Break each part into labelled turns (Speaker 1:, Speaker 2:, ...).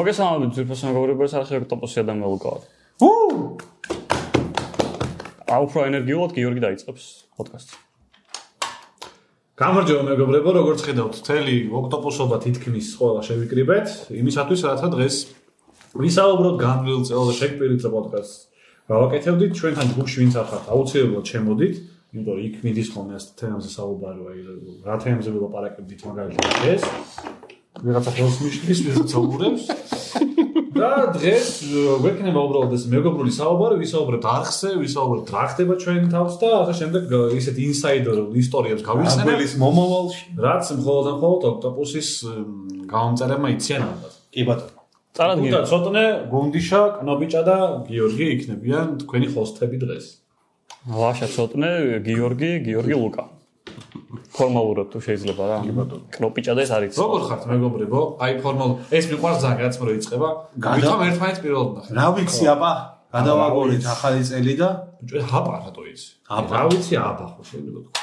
Speaker 1: მოგესალმებით ძვირფას მეგობრებო, არხები ტოპოსი და მელუკავად. აუ უფრო ენერგიულად გიორგი დაიწყებს პოდკასტს.
Speaker 2: გამარჯობა მეგობრებო, როგორც ხედავთ, მთელი ოქტოპუსობა თითქმის ყველა შევიკრიბეთ, იმისათვის, რათა დღეს ვისაუბროთ განვლილ წელზე შეგპირით რა პოდკასტს. გავაკეთებდით ჩვენთან ჯგუფში ვინც არ ხართ, აუცილებლად შემოდით, იმიტომ რომ იქ მიდის ხოლმე ეს თემებზე საუბარი, აი, რა თემებზე ველაპარაკებდით მაგალითად ეს. ვიღაცა ხელს მიშლის, ვიღაცა საუბრებს. და დღეს ვ, გვექნება უბრალოდ ეს მეგობრული საუბარი, ვისაუბრებთ არხზე, ვისაუბრებთ რა ხდება ჩვენ თავს და ასე შემდეგ გა- ისეთ ინსაიდერულ ისტორიებს გავიხსენებთ.
Speaker 3: ამბელის მომავალში.
Speaker 2: რაც მხოლოდ და მხოლოდ ოქტოპუსის მ, გამომწერებმა იციან ალბათ.
Speaker 3: კი ბატონო.
Speaker 2: უდა
Speaker 1: წარადგინე.
Speaker 2: ცოტნე გუნდიშა, კნობიჭა და გიორგი იქნებიან თქვენი ჰოსტები დღეს.
Speaker 1: ლაშა ცოტნე, გიორგი, გიორგი ლუკა. ფორმალურად თუ შეიძლება რა. კროპიჭა და ეს არის.
Speaker 2: როგორ ხართ მეგობრებო? აი ფორმალ ეს მიყვარს ძალიან გაცმურო იწება.
Speaker 3: გადა-
Speaker 2: ვითომ ერთმანეთს პირველად ნახე.
Speaker 3: რა ვიცი აბა, გადავაგონეთ ახალი წელი და
Speaker 2: ბიჭო აბა რატო იცი?
Speaker 3: აბა.
Speaker 2: რა ვიცი აბა ხო შეიძლება თქვა.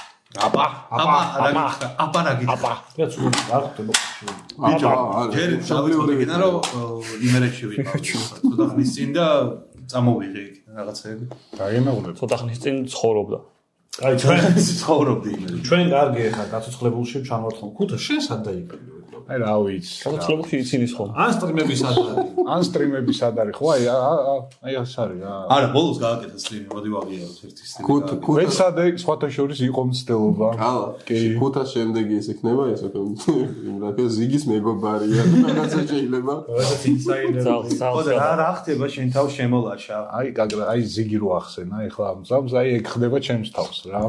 Speaker 3: აბა, აბა, რა
Speaker 2: აბა.
Speaker 3: გიხდა? აბა რა გიხდა?
Speaker 2: რა ცუ რა ხდება?
Speaker 3: ბიჭო,
Speaker 4: აბა,
Speaker 3: ჯერ
Speaker 4: არის.
Speaker 3: შავიორი გინდა რომ ო, იმერეთში ვიყავ. ცოტა ხნის წინ და წამოვიღე იქ რაღაცეები.
Speaker 4: გაგემეღლებ.
Speaker 1: ცოტა ხნის წინ ცხოვრობდა.
Speaker 2: აი ჩვენ
Speaker 3: ცხოვრობდი იმერეთში.
Speaker 2: ჩვენ კარგი ხარ გაცოცხლებულში ჩამოვართ ხომ ქუთა შენ სად დაიკრიბე?
Speaker 4: აი რა ვიცი.
Speaker 1: გაცილებლში იცინის ხოლმე.
Speaker 2: ან სტრიმები სად არის?
Speaker 4: ან სტრიმები სად არის ხო? აი ა- ა- აი ეს არის რა.
Speaker 3: არა, ბოლოს გააკეთა სტრიმი, მოდი ვაღიაროთ ერთი სტრიმი.
Speaker 5: ქუთ
Speaker 3: გააკეთე.
Speaker 5: ქუთ
Speaker 4: მეცადე სხვათა შორის იყო მცდელობა.
Speaker 5: ალა
Speaker 4: კი.
Speaker 5: ქუთას შემდეგი ეს ექნება ეს რა ზიგის მეგობარია რაღაცა შეიძლება
Speaker 2: რასაც
Speaker 1: ზალ
Speaker 2: ინსაიდერი
Speaker 1: ზალ.
Speaker 3: ხოდა რა რა ხდება შენ თავს შემოლაშა?
Speaker 4: აი გაგრა აი ზიგი რო ახსენა ეხლა ამ ზამს აი ეგ ხდება ჩემს თავს რა.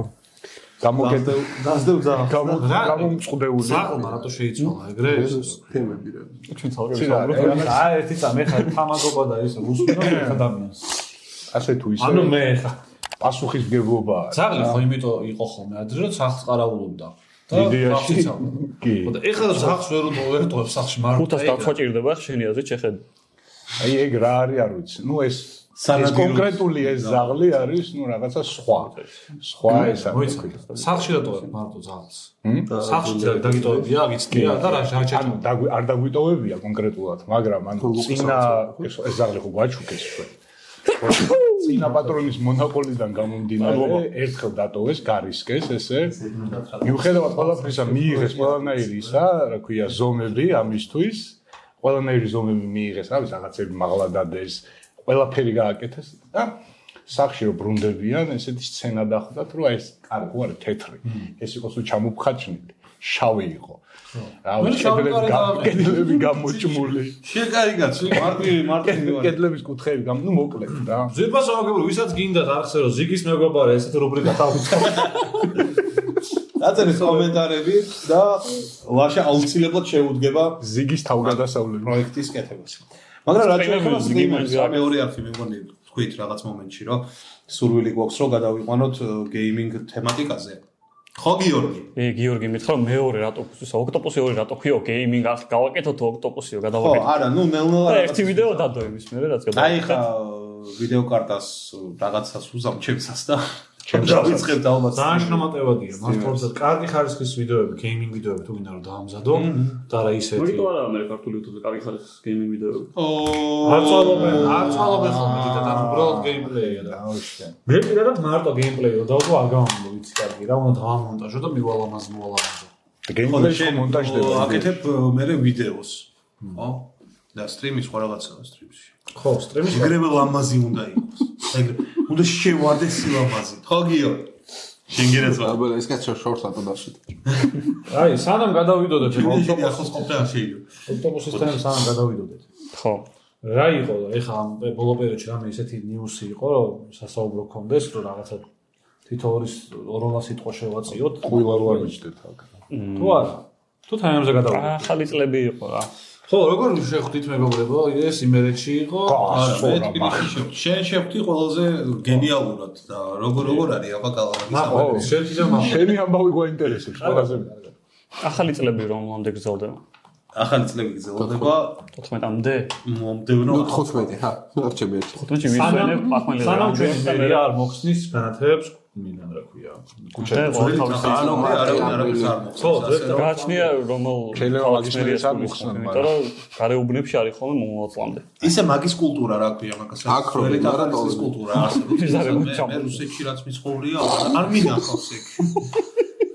Speaker 4: გამოკეთე
Speaker 3: გასდევ ძაღლს.
Speaker 4: გამო-
Speaker 2: რა-
Speaker 4: გამომწყდეული.
Speaker 2: ზაღლმა რატო შეიცვალა ეგრე?
Speaker 5: ეს თემები რა
Speaker 1: ჩვენ
Speaker 4: ცი
Speaker 1: ცალკე
Speaker 4: რა,
Speaker 1: ვსაუბრობთ.
Speaker 4: რა,
Speaker 2: რა ერთი წამე ხარ თამაზობა და ეს რუსულო ერთ ადამიანს.
Speaker 4: ასე თუ ისე
Speaker 2: ანუ მე ხარ.
Speaker 4: პასუხისგებლობაა.
Speaker 2: ზაღლი ხო იმიტომ იყო ხოლმე ადრე რომ სახლს ყარაულობდა.
Speaker 4: იდეაში. კი.
Speaker 2: და ეხლა რომ ზაღს ვერ უტო ვერ ტოვებს სახლში მარტო.
Speaker 1: ქუთას დაცვაჭირდება ხშენი აზრით შეხედე.
Speaker 4: აი ეგ რა არის არ ვიცი. ნუ ეს ეს
Speaker 3: სანადირო-
Speaker 4: კონკრეტული ეს ზაღლი არის, ნუ რაღაცა სხვა. სხვა ეს არის.
Speaker 2: მოიცი. სახლში რა ტოვებ მარტო ზაღს. სახლში და დაგიტოვებია, აგიცდია და რა
Speaker 4: ანუ
Speaker 2: შარჩა.
Speaker 4: დაგ- არ დაგვიტოვებია კონკრეტულად, მაგრამ ანუ
Speaker 5: ლუქსს
Speaker 4: წინა
Speaker 5: ავსახო.
Speaker 4: ეს ეს ზაღლი ხო გვაჩუქეს ჩვენ. წინა პატრონის მონოპოლიდან გამომდინარე ერთხელ დატოვეს, გარისკეს ესე. მიუხედავად ყველაფრისა მიიღეს ყველანაირი ისა, რა ქვია, ზომები ამისთვის. ყველანაირი ზომები მიიღეს, რა ვიცი, რაღაცები მაღლა დადეს, ყველაფერი გააკეთეს და სახში რო ბრუნდებიან, ესეთი სცენა დახვდათ, რომ აი ეს კარი ხო არის თეთრი. ეს იყოს თუ ჩამოფხაჩნილი, შავი იყო. რა
Speaker 2: მე
Speaker 4: ვიცი,
Speaker 2: შავი კარი
Speaker 4: კედლები გამ-
Speaker 2: დავაკეთე.
Speaker 4: კედლები გამოჭმული,
Speaker 3: შენ კაი კაცო, მარტივი მარტივი ვარ.
Speaker 4: კედლების კუთხეები გამ, ნუ მოკლედ რა.
Speaker 2: ზებასა მოგებრო, ვისაც გინდათ არხზე რომ ზიგის მეგობარი ესეთი რუბრიკა თავისთავად.
Speaker 3: დაწერეთ კომენტარები და ლაშა აუცილებლად შეუდგება
Speaker 4: ზიგის თავგადასავლელი.
Speaker 3: პროექტის კეთებას. მაგრამ რაც
Speaker 1: სტრიმები
Speaker 3: შეეხება
Speaker 1: ვიზგი
Speaker 3: სტრიმებს,
Speaker 1: მანძილად.
Speaker 3: რა მეორე არქი მეგონი თქვით რაღაც მომენტში, რომ სურვილი გვაქვს რომ გადავიყვანოთ ო, გეიმინგ თემატიკაზე. ხო გიორგი?
Speaker 1: ე გიორგი მითხრა მეორე რატო ქუსის ოქტოპუსი ორი რატო ქიო გეიმინგ არ გავაკეთოთ ოქტოპუსიო
Speaker 3: ხო,
Speaker 1: გადავაკეთოთ.
Speaker 3: არა, ნუ ნელ-ნელა
Speaker 1: და ერთი ვიდეო დადო იმის მე რაც გადააკეთე.
Speaker 3: აი ხა ვიდეოკარტას ო, რაღაცას უზამჩებსას და ჩემს დავიწყებთ ალბათ.
Speaker 2: ძალიან შრომატევადია, მართლა კარგი ხარისხის ვიდეოები, გეიმინგ ვიდეოები თუ გინდა რომ დაამზადო და რა ისეთი.
Speaker 6: მოგიტო არა მე ქართული YouTube-ზე კარგი ხარისხის გეიმინგი ვიდეოები.
Speaker 2: არ
Speaker 3: ო
Speaker 2: წვალობენ, არ წვალობენ ხოლმე და და უბრალოდ გეიმპლეია და.
Speaker 4: აუშენ.
Speaker 2: მე პირადად მარტო გეიმპლეი რომ დავდო არ გამომავლო ვიცი კარგი რა, უნდა დავამონტაჟო და მივალამაზ მოვალამაზო.
Speaker 3: ხოდა
Speaker 4: გეიმპლეი
Speaker 3: შენ
Speaker 4: მონტაჟდება.
Speaker 3: აკეთებ ო, მე ვიდეოს. ხო? და სტრიმის სხვა რაღაცაა სტრიმში.
Speaker 2: ხო, სტრიმში
Speaker 3: ეგრევე ლამაზი უნდა იყოს. ეგრევე უნდა შევარდეს ლამაზი. ხო გიო? შენგერაც ვარ.
Speaker 5: აბა ეს კაცო შორს ატო დაშით
Speaker 2: აი, სანამ გადავიდოდეთ
Speaker 3: შენი შენი
Speaker 2: ავტობუსის
Speaker 3: ახლოს ყოფნა არ შეიძლება.
Speaker 2: ავტობუსის თემ სანამ გადავიდოდეთ.
Speaker 1: ხო.
Speaker 2: რა იყო ეხა ამ ბოლო პერიოდში რამე ისეთი ნიუსი იყო, რომ სასაუბრო კონდეს, რომ რაღაცა თითოეულის 200 სიტყვა შევაწიოთ.
Speaker 4: ყვილა რო არ მიჭდეთ აქ.
Speaker 2: თუ არა, თუ თემებზე გადავიდოდეთ.
Speaker 1: ახალი წლები იყო რა.
Speaker 2: ხო, როგორ შეხვდით მეგობრებო, ეს იმერეთში იყო.
Speaker 3: არა, მე
Speaker 4: გასწორა მაგ.
Speaker 3: თბილისში შევ- შენ შევხვდი ყველაზე გენიალურად და როგორ როგორ არის აბა კალამარის
Speaker 2: ნახო,
Speaker 3: ამბავი?
Speaker 2: შეიძლება მაგ
Speaker 4: შენი ამბავი გვაინტერესებს ყველაზე.
Speaker 1: ახალი წლები რომლამდე გრძელდება?
Speaker 3: ახალი წლები გრძელდება
Speaker 1: 14-მდე?
Speaker 3: მომდევნო
Speaker 5: ნუ 15 ჰა არ ჩემი ერთი
Speaker 1: 15-ში ვისვენებ ახალი
Speaker 2: სანამ ჩვენ მერია არ მოხსნის განათლებს იმიდან რა ქვია.
Speaker 1: და
Speaker 4: ქუჩა
Speaker 1: ზოგი თავის
Speaker 3: ანუ მე არავინ არავის არ
Speaker 2: ხო,
Speaker 3: მოხსენს.
Speaker 2: ზოგადად
Speaker 3: ასე.
Speaker 1: გააჩნია რომელ
Speaker 4: შეიძლება
Speaker 1: ქალაქს
Speaker 4: მაგის მიერ არ
Speaker 1: ესკურისხო,
Speaker 4: მოხსნან,
Speaker 1: იმიტომ რომ გარეუბნებში არის ხოლმე მომავალწლამდე.
Speaker 3: ისე მაგის კულტურა რა ქვია მაგას
Speaker 5: აკრო,
Speaker 3: ძველი
Speaker 5: მაგრამ
Speaker 3: თათარის
Speaker 5: ტოვები.
Speaker 3: კულტურა ასე რომ
Speaker 1: ის არის
Speaker 3: მე-
Speaker 1: მოჩამული.
Speaker 3: მე რუსეთში რაც მიცხოვრია არ მინახავს ეგ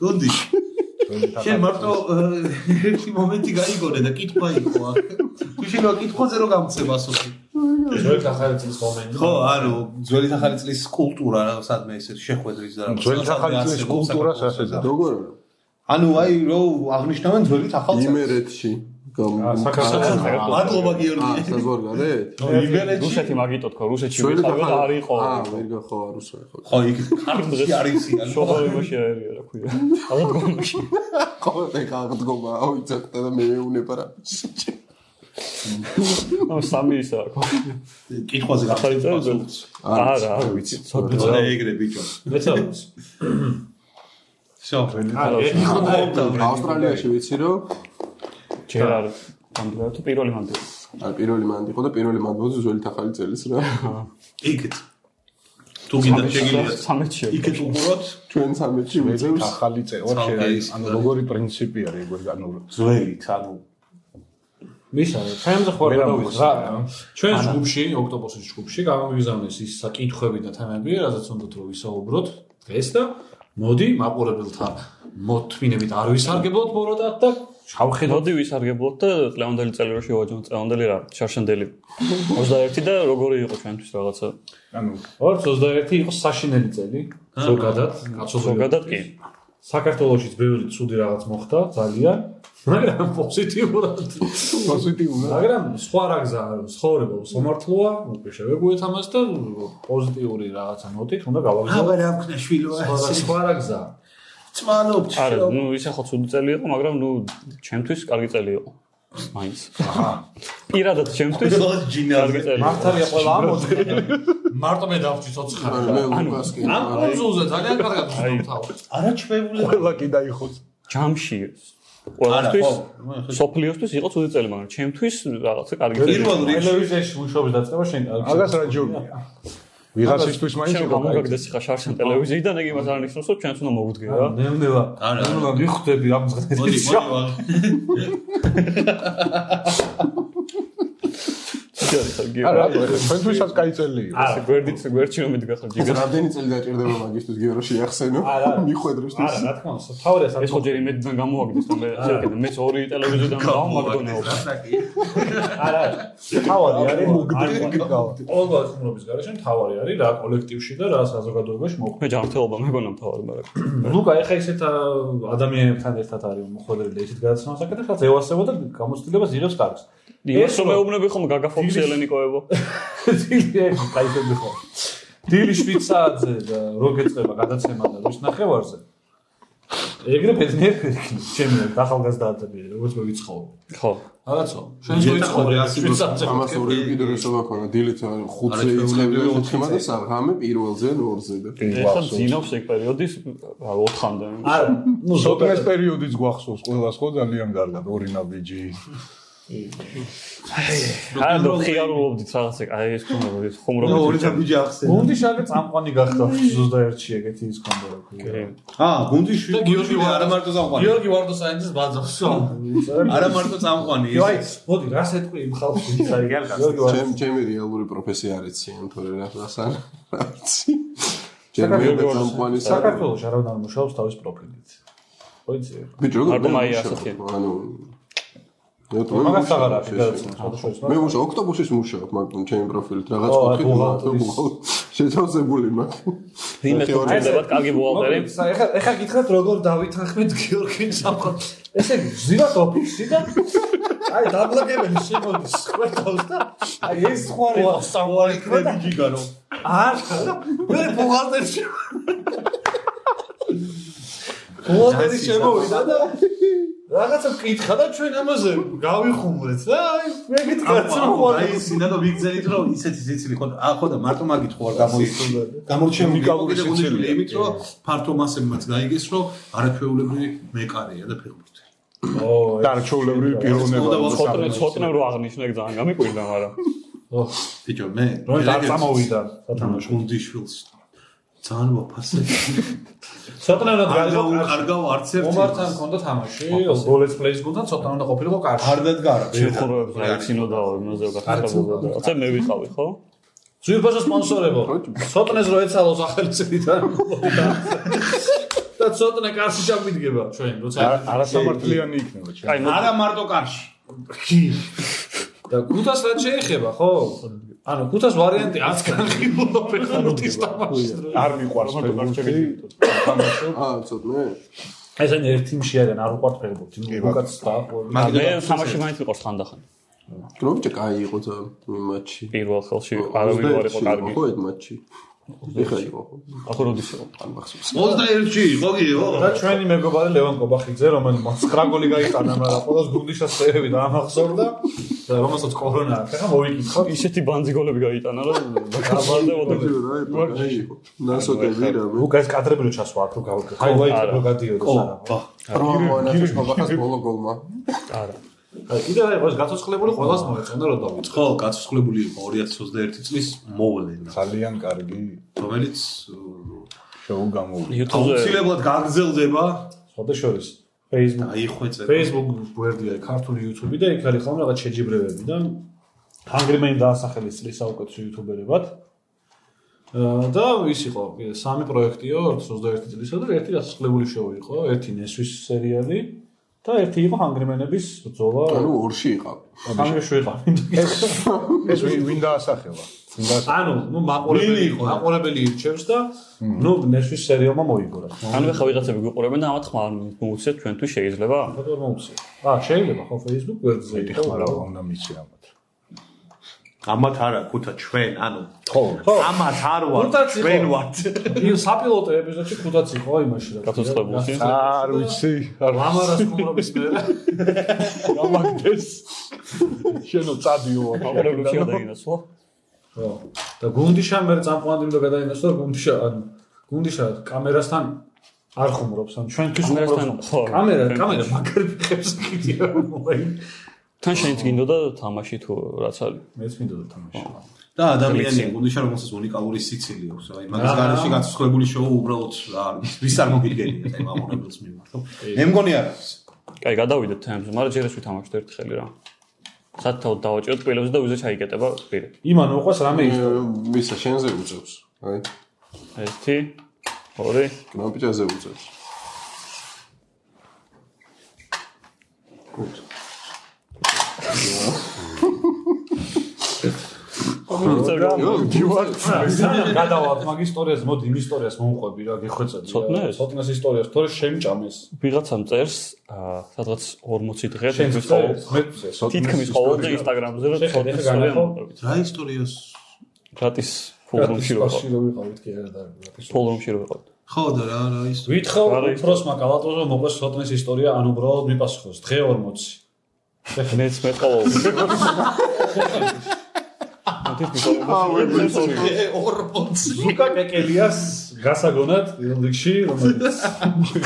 Speaker 3: გონდი შენ მარტო აა, ერთი მომენტი გაიგონე და კითხვა იყო აქ. თუ შეიძლება კითხვაზე რო გამწება ასოთი
Speaker 2: ზოგადად ახალი წლის მომენტი.
Speaker 3: ხო ანუ ძველი ახალი წლის კულტურა რა სადმე ესე შეხვედრის და რა
Speaker 4: ძველი ახალწლის კულტურას ასე და
Speaker 5: როგორ
Speaker 3: ანუ აი რო აღნიშნავენ ძველი
Speaker 5: არა?
Speaker 3: ახალწლის
Speaker 5: იმერეთში გამ
Speaker 2: საქართველოს
Speaker 3: მადლობა
Speaker 5: აა
Speaker 3: გიორგი
Speaker 5: საზღვარგარეთ
Speaker 1: რუსეთი მაგიტო თქო, რუსეთში ვიყავი და არ იყო.
Speaker 5: აა ვერ გახო არ უსვა ხო
Speaker 3: ხო იქ კარგი არის იანი
Speaker 1: შოხორებაში არია რა ქვია. აღდგომაში.
Speaker 5: ყოველდღე აღდგომა აუიცაკდა და მე მეუნება რა
Speaker 1: ამ სამი ისა რა ქვია.
Speaker 3: კითხვაზე
Speaker 1: ახალი წელი
Speaker 3: გამწება
Speaker 1: ძველი. არა, არ ვიცი.
Speaker 3: და ეგრე ბიჭო
Speaker 2: მეცადოს.
Speaker 3: всё
Speaker 2: აი, ეხი ხო დაეწა.
Speaker 5: ავსტრალიაში ვიცი რომ
Speaker 1: ჯერ არ გამიგდა თუ პირველი მანდი.
Speaker 5: აი პირველი მანდი იყო და პირველი მანდოზე ძველი ახალი წელიც რა
Speaker 3: იქით თუ გინდა შეგიძლია
Speaker 1: 13-ში.
Speaker 3: იქით უყუროთ
Speaker 5: ჩვენ 13-ში ვიწევს
Speaker 4: ახალი წევა
Speaker 3: ცალკე
Speaker 4: შეიძლება
Speaker 3: ის
Speaker 4: ანუ როგორი პრინციპი არის ეგ ანუ
Speaker 3: ძველით ანუ
Speaker 2: მისა, ჩვენზე ხო არ
Speaker 4: ვერ
Speaker 2: გადავიდეთ რა.
Speaker 4: ამბობს.
Speaker 2: ჩვენ ჯგუფში, ოქტოპოსის ჯგუფში გამომივიზამნეს ის საკითხები და თემები, რაზეც უნდა რომ ვისაუბროთ დღეს და მოდი მაყურებელთან მოთმინებით არ ვისარგებლოთ ბოროტად და
Speaker 1: მოდი ვისარგებლოთ და წლევანდელი წელი რო შევაჯამოთ წლევანდელი რა, შარშანდელი 21 და როგორი იყო ჩვენთვის რაღაცა.
Speaker 4: ანუ
Speaker 2: 2021 იყო საშინელი წელი, ზოგადად, კაცობრიობა.
Speaker 1: ზოგადად კი.
Speaker 2: საქართველოსიც ბევრი ცუდი რაღაც მოხდა, ძალიან, მაგრამ პოზიტიურად.
Speaker 4: პოზიტიურად
Speaker 2: მაგრამ სხვა რა გზა ცხოვრება უსამართლოა, უკვე შევეგუეთ ამას და პოზიტიური რაღაცა ნოტით უნდა გავაგზავნოთ.
Speaker 3: აბა რა ვქნა შვილო
Speaker 2: სხვა
Speaker 3: ასე
Speaker 2: სხვა რა გზა.
Speaker 3: წმანობ
Speaker 1: არა,
Speaker 3: შვილო.
Speaker 1: ნუ ისე ხო ცუდი წელი იყო, მაგრამ ნუ ჩემთვის კარგი წელი იყო. მაინც.
Speaker 4: აჰა
Speaker 1: პირადად ჩემთვის
Speaker 3: ზოგადად
Speaker 1: კარგი
Speaker 3: ჯინაზე
Speaker 1: წელი. იყო.
Speaker 2: მართალია ყველა ამოწმე. მარტო მე დავჭი ცოცხალი.
Speaker 5: მე ლუკას კი
Speaker 2: ამ კონსულზე ძალიან კარგად ვცნობ თავს.
Speaker 3: არა ჩვეულე
Speaker 4: ყველა კი დაიხოს
Speaker 1: ჯამში
Speaker 3: არა ხო
Speaker 1: ყველასთვის სოფლიოსთვის იყო ცუდი წელი, მაგრამ ჩემთვის რაღაცა კარგი წელი.
Speaker 3: პირველ რიგში
Speaker 2: ტელევიზიაში მუშაობის დაწყება შენ კარგი.
Speaker 4: აგას რა ჯობია ვიღაცისთვის მაინც
Speaker 1: შენ გამოგაგდეს ხა შარშან ტელევიზიიდან, ეგ იმას არ ნიშნავს, რომ ჩვენც უნდა მოვუდგე რა.
Speaker 2: ნევნევა.
Speaker 3: არა არა
Speaker 2: ნევნევა მიხვდები ამ
Speaker 3: მოდი
Speaker 2: ზღდების.
Speaker 3: მოდი ვალ.
Speaker 1: კი არის ხა გიორგი.
Speaker 4: არა ჩვენთვისაც კაი წელი იყო
Speaker 1: ასე გვერდით გვერდში რომ მიდგა ხა
Speaker 5: ეს
Speaker 1: ჯიგა.
Speaker 5: რამდენი წელი დაჭირდება მაგისტვის გიოროში ახსენო
Speaker 2: არა.
Speaker 5: მიხვედრებს
Speaker 2: არა,
Speaker 5: ის
Speaker 2: რა თქმა უნდა, თავრეს არ
Speaker 1: ეს ხო ჯერ იმედიდან გამოაგდეს, რომ მე შეიძლება მეც ორი ტელევიზორიდან
Speaker 3: მოდი,
Speaker 1: დავმაგდონეო.
Speaker 3: რასაკი
Speaker 2: არა თავარი არის
Speaker 4: მოგდები გავ
Speaker 2: ყველა ხმრობის გარეშე თავარი არის რა კოლექტივში და რა საზოგადოებაში მოხდა.
Speaker 1: მე ჯანმრთელობა მეგონა მთავარი, მაგრამ
Speaker 2: ლუკა ეხა ისეთ აა, ადამიანებთან ერთად არის მოხდები და ისეთ გადაცემას აკეთებს, რაც ევასებოდა გამოცდილებას იღებს კარგს.
Speaker 1: იმას რომ
Speaker 2: რა.
Speaker 1: მეუბნები ხოლმე გაგა ფოქსი
Speaker 2: დილის-
Speaker 1: ელენიკოებო.
Speaker 2: ძილები кайფები ხო. დილი 7 საათზე და როგეწება გადაცემა და ვის ნახევარზე. ეგრე ბედნიერი ჩემი ახალგაზრდა ადამიანები, როგორც მე ვიცხოვ.
Speaker 1: ხო.
Speaker 2: რაღაცო, შენ შე ვიცხოვ 7 საათზე.
Speaker 5: ამას ორი უკიდურესობა ქონა დილით 5-ზე იწყებდი 4-მა და საღამე პირველზე ან 2-ზე და
Speaker 1: ეხლა ძინავს ეგ პერიოდის რა 4-მდე.
Speaker 2: არა, ნუ
Speaker 4: სოტნეს
Speaker 2: ზოგადად
Speaker 4: პერიოდიც გვახსოვს ყველას ხო ძალიან კარგად ორი ნაბიჯი
Speaker 1: არა, და ხიარულობდით რაღაცე, აი ეს ხუმრობდით,
Speaker 3: და
Speaker 1: ხუმრობდით.
Speaker 3: ორი დაბიჯი ახსენე
Speaker 2: გუნდი შაგე წამყვანი გახდა 21-ში ეგეთი ის კონდა რა ქვია.
Speaker 3: ა გუნდი შვილი
Speaker 2: და გიორგი ვარ-
Speaker 3: არა მარტო წამყვანი
Speaker 2: გიორგი ვარდოსაიძის ბაძავს.
Speaker 3: არა მარტო წამყვანი
Speaker 2: იოი,
Speaker 3: ეს
Speaker 2: მოდი, რას ეტყვი იმ ხალხს ის არის გარდა. გიორგი
Speaker 5: ჩემ
Speaker 2: ვარდოსაიძე
Speaker 5: ჩემი რეალური პროფესია არ ეცი ან თორე რა რასან რა ვიცი ჯერ მე
Speaker 2: საქართველოს-
Speaker 5: და წამყვანი საკარგო
Speaker 2: საქართველოს არავინ არ მუშაობს თავის პროფილით. ხოიცი.
Speaker 5: ბიჭო
Speaker 1: მარტო
Speaker 5: მე
Speaker 1: მაია
Speaker 5: მუშაობ,
Speaker 1: ასათიან.
Speaker 5: ანუ მე მე
Speaker 2: მაგას აღარ არის
Speaker 5: მუშაობ,
Speaker 2: გადაცემა სხვადასხვა.
Speaker 5: მე მუშაობ ოქტომბერში მუშაობ მაგრამ ჩემი პროფილით რაღაც
Speaker 2: ო, აი,
Speaker 5: კუთხით
Speaker 2: ბუღალტერის.
Speaker 5: მარტო შეთავსებული მაქვს
Speaker 1: ვინმე თუ გჭირდებათ კარგი ბუღალტერი.
Speaker 2: ეხა ეხა გითხრათ როგორ დავითანხმეთ გიორგის სამყარო. ესე იგი, ზირათ ოფისში და აი დაბლაგებელი შემოდის სკვერტავს და აი ეს სხვა რა სამყარო იქნება.
Speaker 3: გიგანო
Speaker 2: არა, მე ბუღალტერში ბუღალტერი შემოვიდა და რაღაცა მკითხა და ჩვენ ამაზე გავიხუმრეთ და აი მე გითხრათ რომ
Speaker 3: აი
Speaker 2: ხვალე
Speaker 3: ისინა და ვიგზელით რომ ისეთი სიცილი ხო აა ხო და მარტო მაგითხო არ გამოიწვია გამორჩეული
Speaker 4: უნიკალური
Speaker 3: გიგონი
Speaker 4: სიცილია.
Speaker 3: იმით რომ ფართო მასებმაც გაიგეს რომ არაჩვეულებრივი მეკარეა და ფეხბურთი
Speaker 2: ო
Speaker 4: დარჩოვლებრივი პიროვნება
Speaker 3: ხოდა
Speaker 1: ცოტნე ცოტნე რო აღნიშნე ეგ ძალიან გამიკვირდა, მაგრამ
Speaker 3: ბიჭო მე
Speaker 2: რომ არ წამოვიდა სათამაშო
Speaker 3: გუნდიშვილს ძალიან ვაფასე.
Speaker 2: ცოტნაურად
Speaker 3: არ
Speaker 2: გარიყო კარში.
Speaker 3: გავუკარგავ არც ერთი.
Speaker 2: ომართან ჰქონდა თამაში, როლეს პლეის გუნდთან ცოტა უნდა ყოფილიყო კარში.
Speaker 3: არ დადგარა.
Speaker 1: შეხოროებს გაიცინოდაო იმაზე გასაგებია და რაცა მე ვიყავი ხო?
Speaker 2: ძვირფასო სპონსორებო. ცოტნეს რო ეცალოს ახალწლიდან. და ცოტნე კარში ჩამიდგება ჩვენ, როცა
Speaker 4: არ- არასამართლიანი იქნება ჩვენ.
Speaker 1: აი მო
Speaker 3: არა მარტო კარში.
Speaker 2: და გუთას რაც შეეხება, ხო? ანუ გუთას ვარიანტი არც განხილულობ ეხლა რუტის თამაშს.
Speaker 4: არ მიყვარს ფეხბურთი. თამაშობ
Speaker 5: აა, ცოტნე?
Speaker 2: ესენი ერთ ტიმში არიან, არ უყვართ ფეხბურთი.
Speaker 4: კი, ბატონო.
Speaker 2: ლუკაც და
Speaker 1: მე თამაში მაინც ვიყავს ხანდახან.
Speaker 5: გრობჭა კაი იყო ძა მატჩი.
Speaker 1: პირველ ხელში არავინ არ იყო კარგი.
Speaker 5: ხო, ეს მატჩი. ეხა იყო ხო?
Speaker 1: ახო როდის იყო?
Speaker 5: არ მახსოვს.
Speaker 3: 21-ში იყო გიო.
Speaker 2: და ჩვენი მეგობარი ლევან კობახიძე, რომელმაც 9 გოლი გაიტანა, მაგრამ ყოველს გუნდის ასეები დაამახსოვრდა, და რომელსაც კორონა აქვს, ხა მოვიკითხოთ.
Speaker 1: ისეთი ბანძიგოლები გაიტანა რომ გაბარდებოდა.
Speaker 5: რა იყო? კაი იყო. ნასოკები რამე.
Speaker 2: ლუკას კადრები რო ჩასვა აქ რო გავიქე. ხა ვაიტი რო გადიოდა სანამ.
Speaker 5: როანას ხაბახას ბოლო გოლმა.
Speaker 1: არა.
Speaker 2: აი კიდე რა იყო ეს გაცოცხლებული ყოველს მოეწონა რომ დავიწყო.
Speaker 3: ხო, გაცვლებული იყო 2021 წლის მოვლენა,
Speaker 4: ძალიან კარგი
Speaker 3: რომელიც
Speaker 4: შოუ გამოვიდა.
Speaker 1: YouTube-ზე
Speaker 3: აუცილებლად გაგრძელდება.
Speaker 2: სხვათა შორის Facebook
Speaker 3: აიხვეწება.
Speaker 2: Facebook გვერდია ქართული YouTube და იქ არის ხოლმე რაღაც შეჯიბრებები და hungryman დაასახელეს წლის საუკეთესო YouTuber-ებად. აა, და ის იყო კიდე სამი პროექტიო 21 წლისა და ერთი დასახლებული შოუ იყო, ერთი ნესვის სერიალი და ერთი იყო hungryman-ების ბრძოლა.
Speaker 5: ანუ ორში იყავი.
Speaker 2: სამი შევიყავი.
Speaker 4: ეს ვინ- ვინ დაასახელა? ვინ დაასახელა?
Speaker 2: ანუ, ნუ მაყურებელი იყო, მაყურებელი ირჩევს და ნუ ნესვის სერიალმა მოიგო რა.
Speaker 1: ანუ ხა ვიღაცები გვიყურებენ და ამათ ხმა მოუცეთ ჩვენთვის შეიძლება?
Speaker 2: ხოდა მოუწია. აა, შეიძლება ხო Facebook გვერდზე
Speaker 4: მეტი ხმარა უნდა მიცე ამათ.
Speaker 3: ამათ არა, ქუთა ჩვენ, ანუ
Speaker 4: ხო.
Speaker 2: ხო,
Speaker 3: ამათ არ ვარ,
Speaker 2: ქუთაც იყო.
Speaker 3: ჩვენ ვართ.
Speaker 2: იმ საპილოტო ეპიზოდში ხუთაც იყო იმაში რა.
Speaker 1: გაცოცხლებულში.
Speaker 4: არ ვიცი, არ
Speaker 2: ლამარას ხუმრობის მერე
Speaker 4: გამაგდეს. შენო წადიო
Speaker 1: მაყურებლებში გადაინაცვლა.
Speaker 2: ხო და გუნდიშა მე წამყვანდი უნდა გადაინაცვლო და გუნდიშა ან გუნდიშა კამერასთან არ ხუმრობს ან ჩვენთვის
Speaker 1: კამერასთან,
Speaker 2: ხუმრობს.
Speaker 1: ხო.
Speaker 2: კამერა კამერა მაგარი ხებს კიდია მოი
Speaker 1: თან შეიძლება გინდოდა თამაში თუ რაც არის.
Speaker 2: მეც მინდოდა თამაში
Speaker 3: და ადამიანი გუნდიშა რომელსაც უნიკალური სიცილი აქვს, აი მაგის გარშე გაცვლებული შოუ უბრალოდ რა არის, ვის არ მოგიდგენიათ აი მაყურებელს მიმართ. მე მგონი არ არის.
Speaker 1: კაი, გადავიდეთ თემებზე, მაგრამ ჯერ ეს ვითამაშოთ ერთი ხელი რა. სათავ დავაჭიროთ კბილებზე და უზე ჩაიკეტება პირი.
Speaker 2: იმან უყვეს რამე ის
Speaker 5: მისა შენზე უწევს. აი,
Speaker 1: 1 2
Speaker 5: კრამპიჭაზე უწევს.
Speaker 1: წევრი
Speaker 2: გადავალთ მაგ ისტორიას მოდი იმ ისტორიას მომყვები რა გეხვეწები რა.
Speaker 1: ცოტნეს?
Speaker 2: ცოტნეს ისტორიას თორე შემჭამეს
Speaker 1: ვიღაცამ წერს, აა, სადღაც 40 დღე
Speaker 2: შენ
Speaker 1: თითქმის ყოველ
Speaker 2: მეცე
Speaker 1: თითქმის ყოველდღე Instagram-ზე რა
Speaker 2: შეხეთ,
Speaker 1: ცოტნეს
Speaker 2: ეხა განახო.
Speaker 1: გადავამოწევით.
Speaker 3: რა ისტორიას?
Speaker 1: გრატის ფულრუმში რო ვიყავ.
Speaker 2: ფასში რო ვიყავით კი არა და
Speaker 1: ფულრუმში რო ვიყავ.
Speaker 3: ხო და რა რა ისტორია.
Speaker 2: ვითხოვ
Speaker 1: არა, ის-
Speaker 2: უფროსმა კალატოზმა მოყვეს სოტნის ისტორია, ან უბრალოდ მიპასუხოს. დღე 40.
Speaker 1: მეც მეყოლავ.
Speaker 3: დღე 40.
Speaker 2: ზუკა კეკელიას გასაგონად ლიგში, რომელიც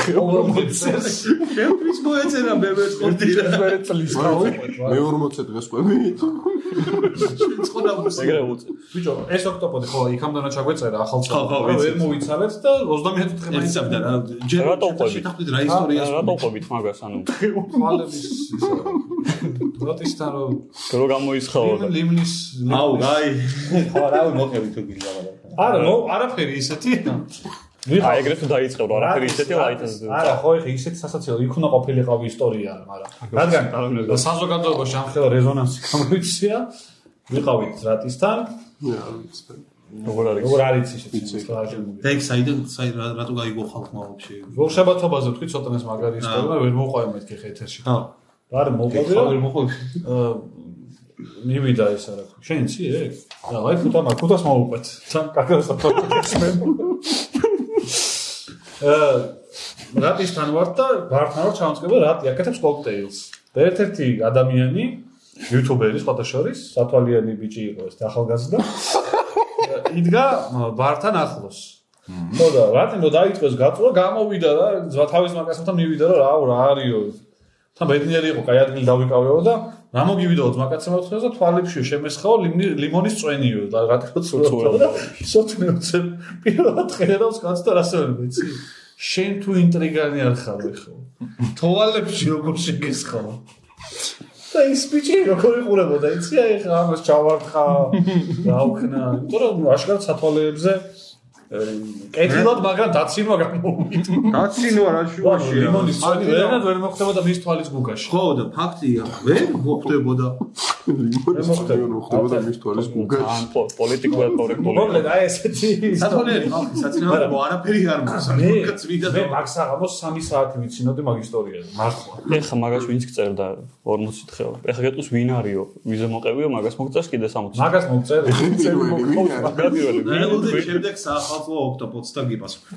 Speaker 2: 40 წელს
Speaker 3: შევთვის მოეწერა მე ვეთყოდი რა.
Speaker 4: მერე წლის გავი.
Speaker 5: მე 40 დღეს ყვებით.
Speaker 3: წყოდა
Speaker 1: ეგრე უწევ.
Speaker 2: ბიჭო, ეს ოქტოპოდი ხო, იქამდენა ჩაგვეწერა ახალ
Speaker 3: ხო, ხო,
Speaker 2: რა, ვერ
Speaker 3: ვიცით.
Speaker 2: მოიცავეთ და 37 დღე
Speaker 3: ეცავდა რა. ჯერ
Speaker 1: რატო უყვებით?
Speaker 3: შეთანხმდით რა ისტორიას.
Speaker 1: რატო ყვებით მაგას, ანუ
Speaker 2: ხვალების ისა. როტისთან რო
Speaker 1: რო გამოიცხაო და
Speaker 2: ლიმნის
Speaker 3: აუ, აი. ხო, რა მოხევი თუ გინდა მაგრამ.
Speaker 2: არა, ნო, არაფერი ისეთი.
Speaker 1: აი ეგრე თუ დაიწყებ რა, არაფერი ისეთი ლაიტას.
Speaker 2: არა, ხო, ეხა ისეთი სასაცილო იქ უნდა ყოფილიყავი ისტორია, მაგრამ რადგან საზოგადოებაში ამხელა რეზონანსი გამოიწია, ვიყავით რატისთან,
Speaker 5: მე არ ვიცი.
Speaker 1: როგორ არის?
Speaker 2: როგორ არის ისეთი სლაჟებული.
Speaker 3: და იქ საიდან საი რა- რატო გაიგო ხალხმა ვაფშე?
Speaker 2: გულშაბათობაზე თქვი ცოტანეს მაგარი ისტორია, ვერ მოყვაი მეთქი ხეთერში.
Speaker 3: ხო.
Speaker 2: არ მოყვები რა.
Speaker 3: მოხოდი.
Speaker 2: აა, მივიდა ეს არა. შენ იცი ეგ? და ლაიფ უთა მაგ უთას მოუყვეთ. სამ კარგად საფორტებს მე. აა, რატისთან ვარ და ვართან ვარ ჩამწკება რატი აკეთებს კოქტეილს. და ერთ-ერთი ადამიანი იუთუბერი სხვათა შორის, სათვალიანი ბიჭი იყო ეს და ახალგაზრდა. და იდგა ა, ბართან ახლოს. ხო და რატომ რომ დაიწყეს გაწვა, გამოვიდა და ზვა თავის მაკასთან მივიდა რა, აუ რა არისო. თან ბედნიერი იყო, кай ადგილი დავიკავეო და რა მოგივიდაო ძმაკაცებმა თქვენ და თვალებში შემესხაო ლიმონი- ლიმონის წვენიო და რა თქმა უნდა
Speaker 1: ცურცურა.
Speaker 2: ცურცურა სოთნე უცებ პირველად ხედავს კაცს და რასე ვერ ვიცი შენ თუ ინტრიგანი არ ხარ ხო თვალებში როგორ შეგესხაო და ის ბიჭი როგორ იყურებოდა იცი აი ხა ამას ჩავარდხა რა უქნა იმიტომ რომ აშკარად სათვალეებზე ემ, კეთილად მაგრამ დაცინვა გამოვიდა
Speaker 3: დაცინვა რა შუაში რა.
Speaker 2: ლიმონის წვენი ვერანად ვერ მოხდებოდა მის თვალის გუგაში
Speaker 3: ხო და ფაქტია, ვერ მოხდებოდა.
Speaker 5: ლიმონის
Speaker 2: მოხდება?
Speaker 5: წვენი მოხდებოდა მის თვალის გუგაში.
Speaker 1: ან პო- პოლიტიკურად
Speaker 2: მოკლედ
Speaker 1: კორექტული.
Speaker 2: აი ესეთი
Speaker 3: სათვალეები ხალხი საწინააღმდეგო არაფერი არ
Speaker 2: მე
Speaker 3: მოსამართლე წვიდა
Speaker 2: მე მაგსაღამოს 3 საათი ვიცინოდი მაგ ისტორიაზე მართლა
Speaker 1: ეხა მაგას ვინც გწერდა 40 თხეო. ეხა გეტყვის ვინ არისო? ვიზე მოყევიო მაგას მოგწეს კიდე 60.
Speaker 2: მაგას მომწერი
Speaker 5: პირველი ვინ არის?
Speaker 1: მაგპირველი. ვინ-
Speaker 3: ნამდვილად შემდეგ საახალწლო ოქტოპოდს და გიპასუხა.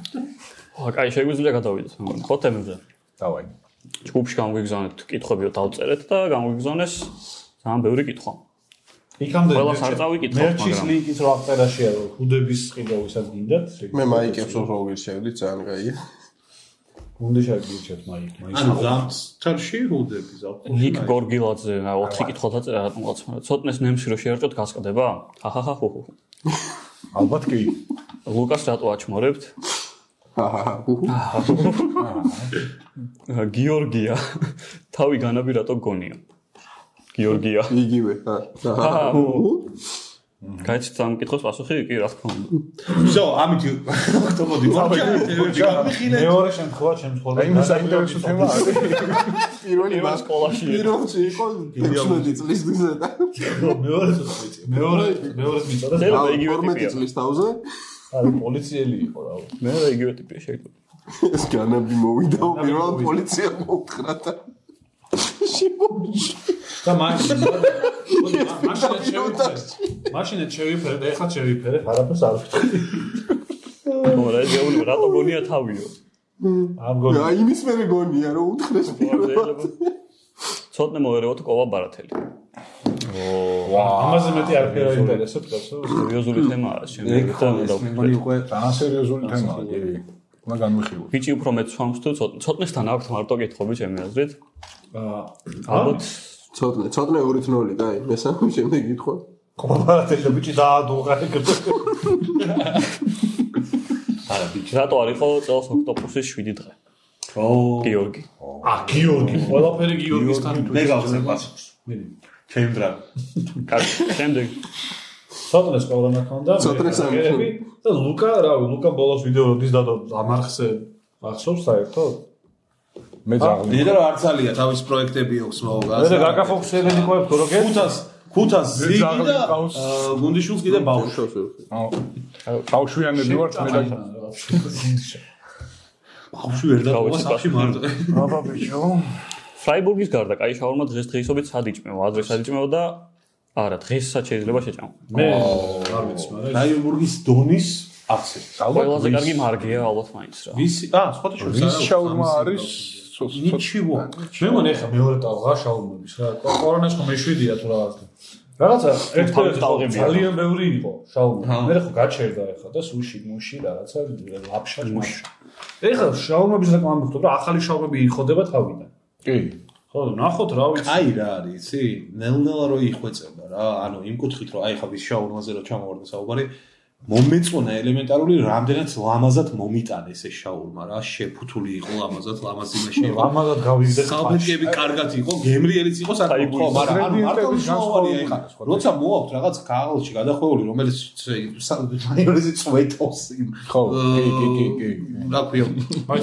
Speaker 1: აა, კაი, შეგვიძლია გადავიდეთ. მგონი. ხო თემებზე.
Speaker 4: დავაი.
Speaker 1: ჯგუფში გამგვიგზავნეთ კითხვები დავწერეთ და გამგვიგზავნეს ძალიან ბევრი კითხვა.
Speaker 2: იქამდე
Speaker 1: ყველას არ წავიკითხავ,
Speaker 2: მერჩის
Speaker 1: მაგრამ.
Speaker 2: ლინკის რო აღწერაშია რომ ხუდების ყიდავისას გინდათ
Speaker 5: მე მაიკებს უბრალოდ შევდი ძალიან კაია.
Speaker 2: უნდა შეგიჩეთ მაიკ მაიკ
Speaker 3: ანუ ზამთარში რუდები ზაფხულში.
Speaker 1: ნიკ გორგილაძე 4 კითხვა დაწერა რატომღაც. ცოტნეს ნემსი რო შეერჭოთ გასკდება? ჰაჰაჰა ჰუჰუ.
Speaker 4: ალბათ კი.
Speaker 1: ლუკას რატო აჩმორებთ?
Speaker 5: ჰაჰაჰა. უჰუ.
Speaker 1: აა, გიორგია თავი განაბი რატო გონია? გიორგია.
Speaker 5: იგივე. ჰა. ჰაჰაჰა. უჰუ.
Speaker 1: გაიცით ამ კითხვის პასუხი? კი, რა თქმა უნდა.
Speaker 3: ზო, ამით ოქტოპოდი მოგვიანებით
Speaker 2: მეორე შემთხვევა შემთხვევა
Speaker 4: აი მის საინტერესო თემა არის.
Speaker 5: პირველი
Speaker 1: პირველ
Speaker 5: მას
Speaker 1: სკოლაში
Speaker 5: პირველში იყო 16 წლის ზედა.
Speaker 2: მეორე ვიცი მეორე მეორე მიწოდა
Speaker 1: წერა და იგივე
Speaker 5: 12
Speaker 1: ტიპია.
Speaker 5: წლის თავზე
Speaker 2: არის პოლიციელი იყო რა ვთქმა
Speaker 1: მე რა იგივე ტიპია შეიძლება.
Speaker 5: ეს განაბი მოვიდა
Speaker 2: განაბი
Speaker 5: პირველ
Speaker 2: მოვიდა.
Speaker 5: პოლიციამ მოუხრა და შემოჭრა.
Speaker 2: და მაშინ მაშინ შევიფერეთ მაშინ შევიფერეთ ეხლა შევიფერეთ არაფერს არ ვიტყვი
Speaker 1: ნუ რა ეს გეუბნება რატო გონია თავიო?
Speaker 2: ამ გონა
Speaker 5: რა იმის მერე გონია რომ უთხრეს პირველ.
Speaker 1: შეიძლება ცოტნე მოერეოთ კოვა ბარათელი.
Speaker 2: ამაზე მეტი არაფერი არ ინტერესებს კაცო
Speaker 1: სერიოზული თემაა შემდეგ და დავფიქრე.
Speaker 3: უკვე
Speaker 4: ძალიან სერიოზული თემაა, კი. უნდა განვიხილოთ.
Speaker 1: ბიჭი უფრო მეც სვამს თუ ცოტ- ცოტნესთან აქვს მარტო კითხვები ჩემი აზრით.
Speaker 2: აა
Speaker 1: ალბათ
Speaker 5: ცოტნე, ცოტნე 2-0, დაი, მესამე შემდეგ გითხო.
Speaker 2: კომპარატელი ბიჭი დაადუღა ეგრე
Speaker 1: არა ბიჭი რატო არ იყო წელს ოქტოპუსის 7 დღე? გიორგი.
Speaker 2: ა გიორგი ყველაფერი გიორგისთან
Speaker 3: მე გავხსენ პასუხს. ჩემ ბრა.
Speaker 1: კარგი, შემდეგ
Speaker 2: ცოტნეს პროგრამა ქონდა მე
Speaker 5: ცოტნეს არ მქონდა.
Speaker 2: ვაკეთებდი და ლუკა რა ვიცი ლუკა ბოლოს ვიდეო როდის დადო ამარხზე ახსოვს საერთოდ
Speaker 4: მე ძაღლი.
Speaker 3: ნედა რა არ ძალიან თავის პროექტები აქვს მოგა.
Speaker 2: მე და გაკაფოქსებელი ყוהებ თუ როგე
Speaker 3: ხუთას ხუთას ზიგი და
Speaker 4: ზაღლი,
Speaker 3: აა, გუნდიშულს კიდე ბავშვი.
Speaker 5: შოს ვერხი.
Speaker 4: აუ. ბავშვიანები ვართ მე და
Speaker 3: ბავშვი ვერ დაგვა
Speaker 1: გავეცი
Speaker 3: სახში მარტო.
Speaker 4: აბა ბიჭო.
Speaker 1: ფრაიბურგის გარდა კაი შაურმა დღეს დღეისობით სად იჭმევა? ადრე სად იჭმევა და არა, დღეს სად შეიძლება შეჭამო.
Speaker 2: მე არ ვიცი მაგრამ
Speaker 3: რაიონბურგის დონის აქცია.
Speaker 1: ყველაზე
Speaker 4: ალბათ
Speaker 1: კარგი მარგია ალბათ მაინც რა.
Speaker 3: ვისი ა სხვათა შორის
Speaker 4: ვის
Speaker 3: არა,
Speaker 4: შაურმა
Speaker 3: სამს
Speaker 4: არის?
Speaker 3: ნიჩიო.
Speaker 2: მე მგონი ახლა მეორე ტალღა შაურმების რა კორონას ხომ მეშვიდია თუ რაღაც რაღაცა ერთ-ერთი ხო
Speaker 1: ტალღებია.
Speaker 2: ძალიან ბევრი იყო შაურმა
Speaker 3: აჰა.
Speaker 2: მე ხო გაჩერდა ახლა და სუში მუში რაღაცა ლაფშა მუშა ეხლა შაურმების რეკმა მიხდება ახალი შაურმები იხოდება თავიდან
Speaker 4: კი.
Speaker 2: ხო ნახოთ რა ვიცი
Speaker 3: აი რა არის, იცი? ნელ-ნელა რო იხვეწება რა, ანუ იმ კუთხით რომ აი ხა ვის შაურმაზე რო ჩამოვარდა საუბარი, მომეწონა ელემენტარული რამდენად ლამაზად მომიტანეს ეს შაურმა რა, შეფუთული იყო ლამაზად, ლამაზი მეშევა.
Speaker 2: ამაგად გავიგდე
Speaker 3: საბეჭები კარგად იყო, გემრიელიც იყო საკმაოდ, ხო, მაგრამ არ მარტო მნიშვნელოვანია ეხა. როცა მოაქვს რაღაც ქაღალში გადახვეული, რომელიც რომელიც წვეთოს იმ
Speaker 4: ხო, კი, კი, კი, კი.
Speaker 3: რა ქვია,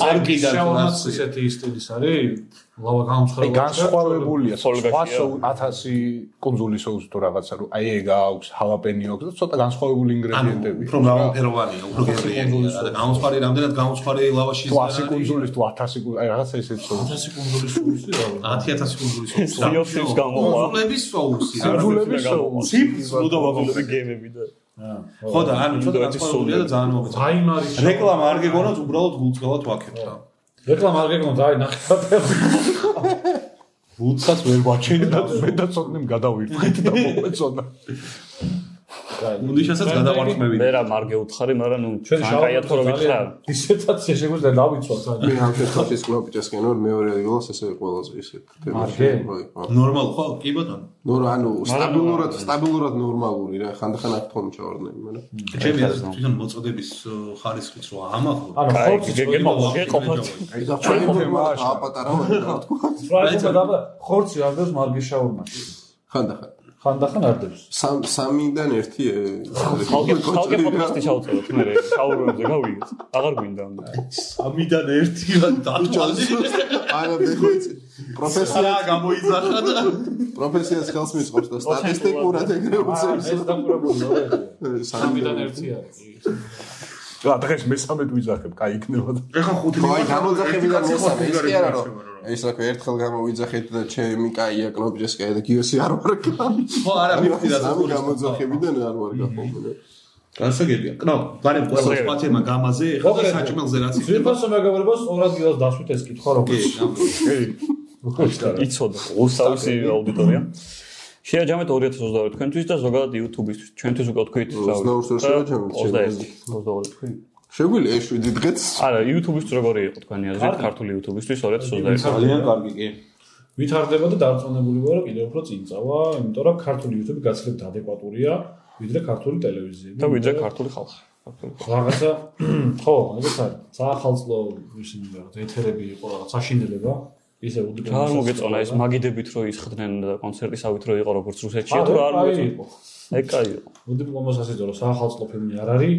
Speaker 3: არკიდან
Speaker 2: შაურმაც
Speaker 3: რაც
Speaker 2: ესეთი სტილის არის ლავა
Speaker 4: აი
Speaker 2: გამსხვრევი
Speaker 4: განსხვავებულია
Speaker 1: ფოლგაშია.
Speaker 4: სხვა სოუს 1000 კონძოლის სოუსი თუ რაღაცა რომ აი ეგ აქვს, ჰალაპენი აქვს და ცოტა განსხვავებული
Speaker 3: ანუ
Speaker 4: ინგრედიენტები.
Speaker 3: უფრო მრავალფეროვანია, უფრო გემრიელია რა და გამოსხარი რამდენად გამოსხარი ლავაშის
Speaker 4: თუ 100 კონძოლის თუ 1000 კონძოლის, აი რაღაცა ესეთ სოუსი.
Speaker 2: 1000 კონდოლის სურსი რა ვარ.
Speaker 3: 10000 კონძოლის სოუსი.
Speaker 1: სიოფის გამოვა.
Speaker 3: კონძოლების სოუსი. არა.
Speaker 4: კონძოლების სოუსი.
Speaker 3: სიფს მოდავაბა.
Speaker 1: მოდავაბა გემები და
Speaker 3: ხო და ანუ ცოტა
Speaker 1: ინდოეთის
Speaker 3: განსხვავებულია და ძალიან მოგწონს.
Speaker 2: ზაიმარის შაურმა.
Speaker 3: რეკლამა არ გეგონათ, უბრალოდ გულწრფელად ვაქებთ რა.
Speaker 2: რეკლამა არ გეკონდა აი ნახე
Speaker 3: გულსაც ვერ ვაჩენდა.
Speaker 4: მე და ცოტნემ გადავირთხეთ და მომეწონა.
Speaker 3: გუნდიშასაც გადავარწმევი.
Speaker 1: მე რა მარგე უთხარი, მაგრამ ნუ
Speaker 2: ჩვენ
Speaker 1: განკაიათ ხო რომ ვიქრა.
Speaker 2: დისერტაცია შეგვიძლია დავიცვათ ძალიან.
Speaker 5: მე ამ შეხვედრის კლუბჭესკენ ორ მეორე ადგილას ესე ყველაზე ისე
Speaker 2: მარგე?
Speaker 5: ხო.
Speaker 3: ნორმალ ხო? კი ბატონო.
Speaker 5: ნუ რა, ანუ სტაბილურად სტაბილურად ნორმალური რა, ხანდახან აქ თონ ჩავარდნები, მაგრამ
Speaker 3: ჩემი აზრით თვითონ მოწოდების ო, ხარისხიც რა ამახო.
Speaker 2: ანუ
Speaker 1: კაი,
Speaker 2: ხორცი
Speaker 1: გეკეთო, გეყოფათ.
Speaker 5: აი და ჩვენ აპატარა ვარ რა თქმა უნდა.
Speaker 2: შეიძლება დაბა ხორცი არ დევს მარგეშაურმაში.
Speaker 5: ხანდახან
Speaker 2: ხანდახან არ დევს.
Speaker 5: სამ სამიდან ერთი
Speaker 1: ხალხი ხალხი პოდკასტი ჩაუწეროთ მე შაურებზე გავიგეთ. აღარ გვინდა.
Speaker 3: ამიდან ერთი რა დაწვალი.
Speaker 5: არა მეხოიცი. პროფესია
Speaker 3: რა გამოიძახა და
Speaker 5: პროფესიას ხელს მიწყობს და სტატისტიკურად ეგრე უწევს.
Speaker 2: ეს დამკურაბულია.
Speaker 5: სამიდან
Speaker 2: ერთი არის.
Speaker 4: რა დღეს მესამედ ვიძახებ, კაი იქნება.
Speaker 3: ეხა ხუთი.
Speaker 5: ხო, აი გამოძახებიდან მოსამე ის კი არა რომ ეს რა ქვია, ერთხელ გამოვიძახეთ და ჩემი კაია კლობჯესკაი და გიოსი არ ვარ გამი.
Speaker 3: ხო, არა მივხვდი რა
Speaker 5: სამი გამოძახებიდან არ ვარ გაფობნე.
Speaker 3: გასაგებია. კნო, ბარემ ყველა სხვა თემა გამაზე, ეხლა და საჭმელზე რაც იქნება.
Speaker 2: ძვირფასო მეგობრებო, სწორად გილას დასვით ეს კითხვა
Speaker 3: კი,
Speaker 2: როგორც.
Speaker 3: გამო.
Speaker 1: იცოდა უსავსი აუდიტორია. შეაჯამეთ 2022 თქვენთვის და ზოგადად YouTube-ისთვის. ჩვენთვის უკვე თქვით
Speaker 5: უცნაურს ვერ შევაჯამეთ,
Speaker 1: 21 22 თქვი.
Speaker 5: შეგვიძლია ეს 7 დღეც
Speaker 1: არა, YouTube-ის როგორი იყო თქვენი აზრით, ქართული YouTube-ისთვის 2021.
Speaker 3: ძალიან კარგი კი.
Speaker 2: ვითარდება და დარწმუნებული ვარ, რომ კიდევ უფრო წინ წავა, იმიტომ რომ ქართული YouTube გაცილებით ადეკვატურია ვიდრე ქართული ტელევიზია.
Speaker 1: და ვიძე ქართული ხალხი.
Speaker 2: რაღაცა ხო, ეგეც არის. საახალწლო ისინი რაღაც ეთერები იყო, რაღაც საშინელება. ისე უდიტო.
Speaker 1: რა არ მოგეწონა ეს მაგიდებით რო ისხდნენ და კონცერტისავით რო იყო როგორც რუსეთში თუ
Speaker 2: შეიძლება
Speaker 1: რა არ
Speaker 2: არ
Speaker 1: მოგეწონა.
Speaker 2: იყო.
Speaker 1: ეგ კაი იყო.
Speaker 2: უდიპლომას ასე ძო, საახალწლო ფილმი არ არის.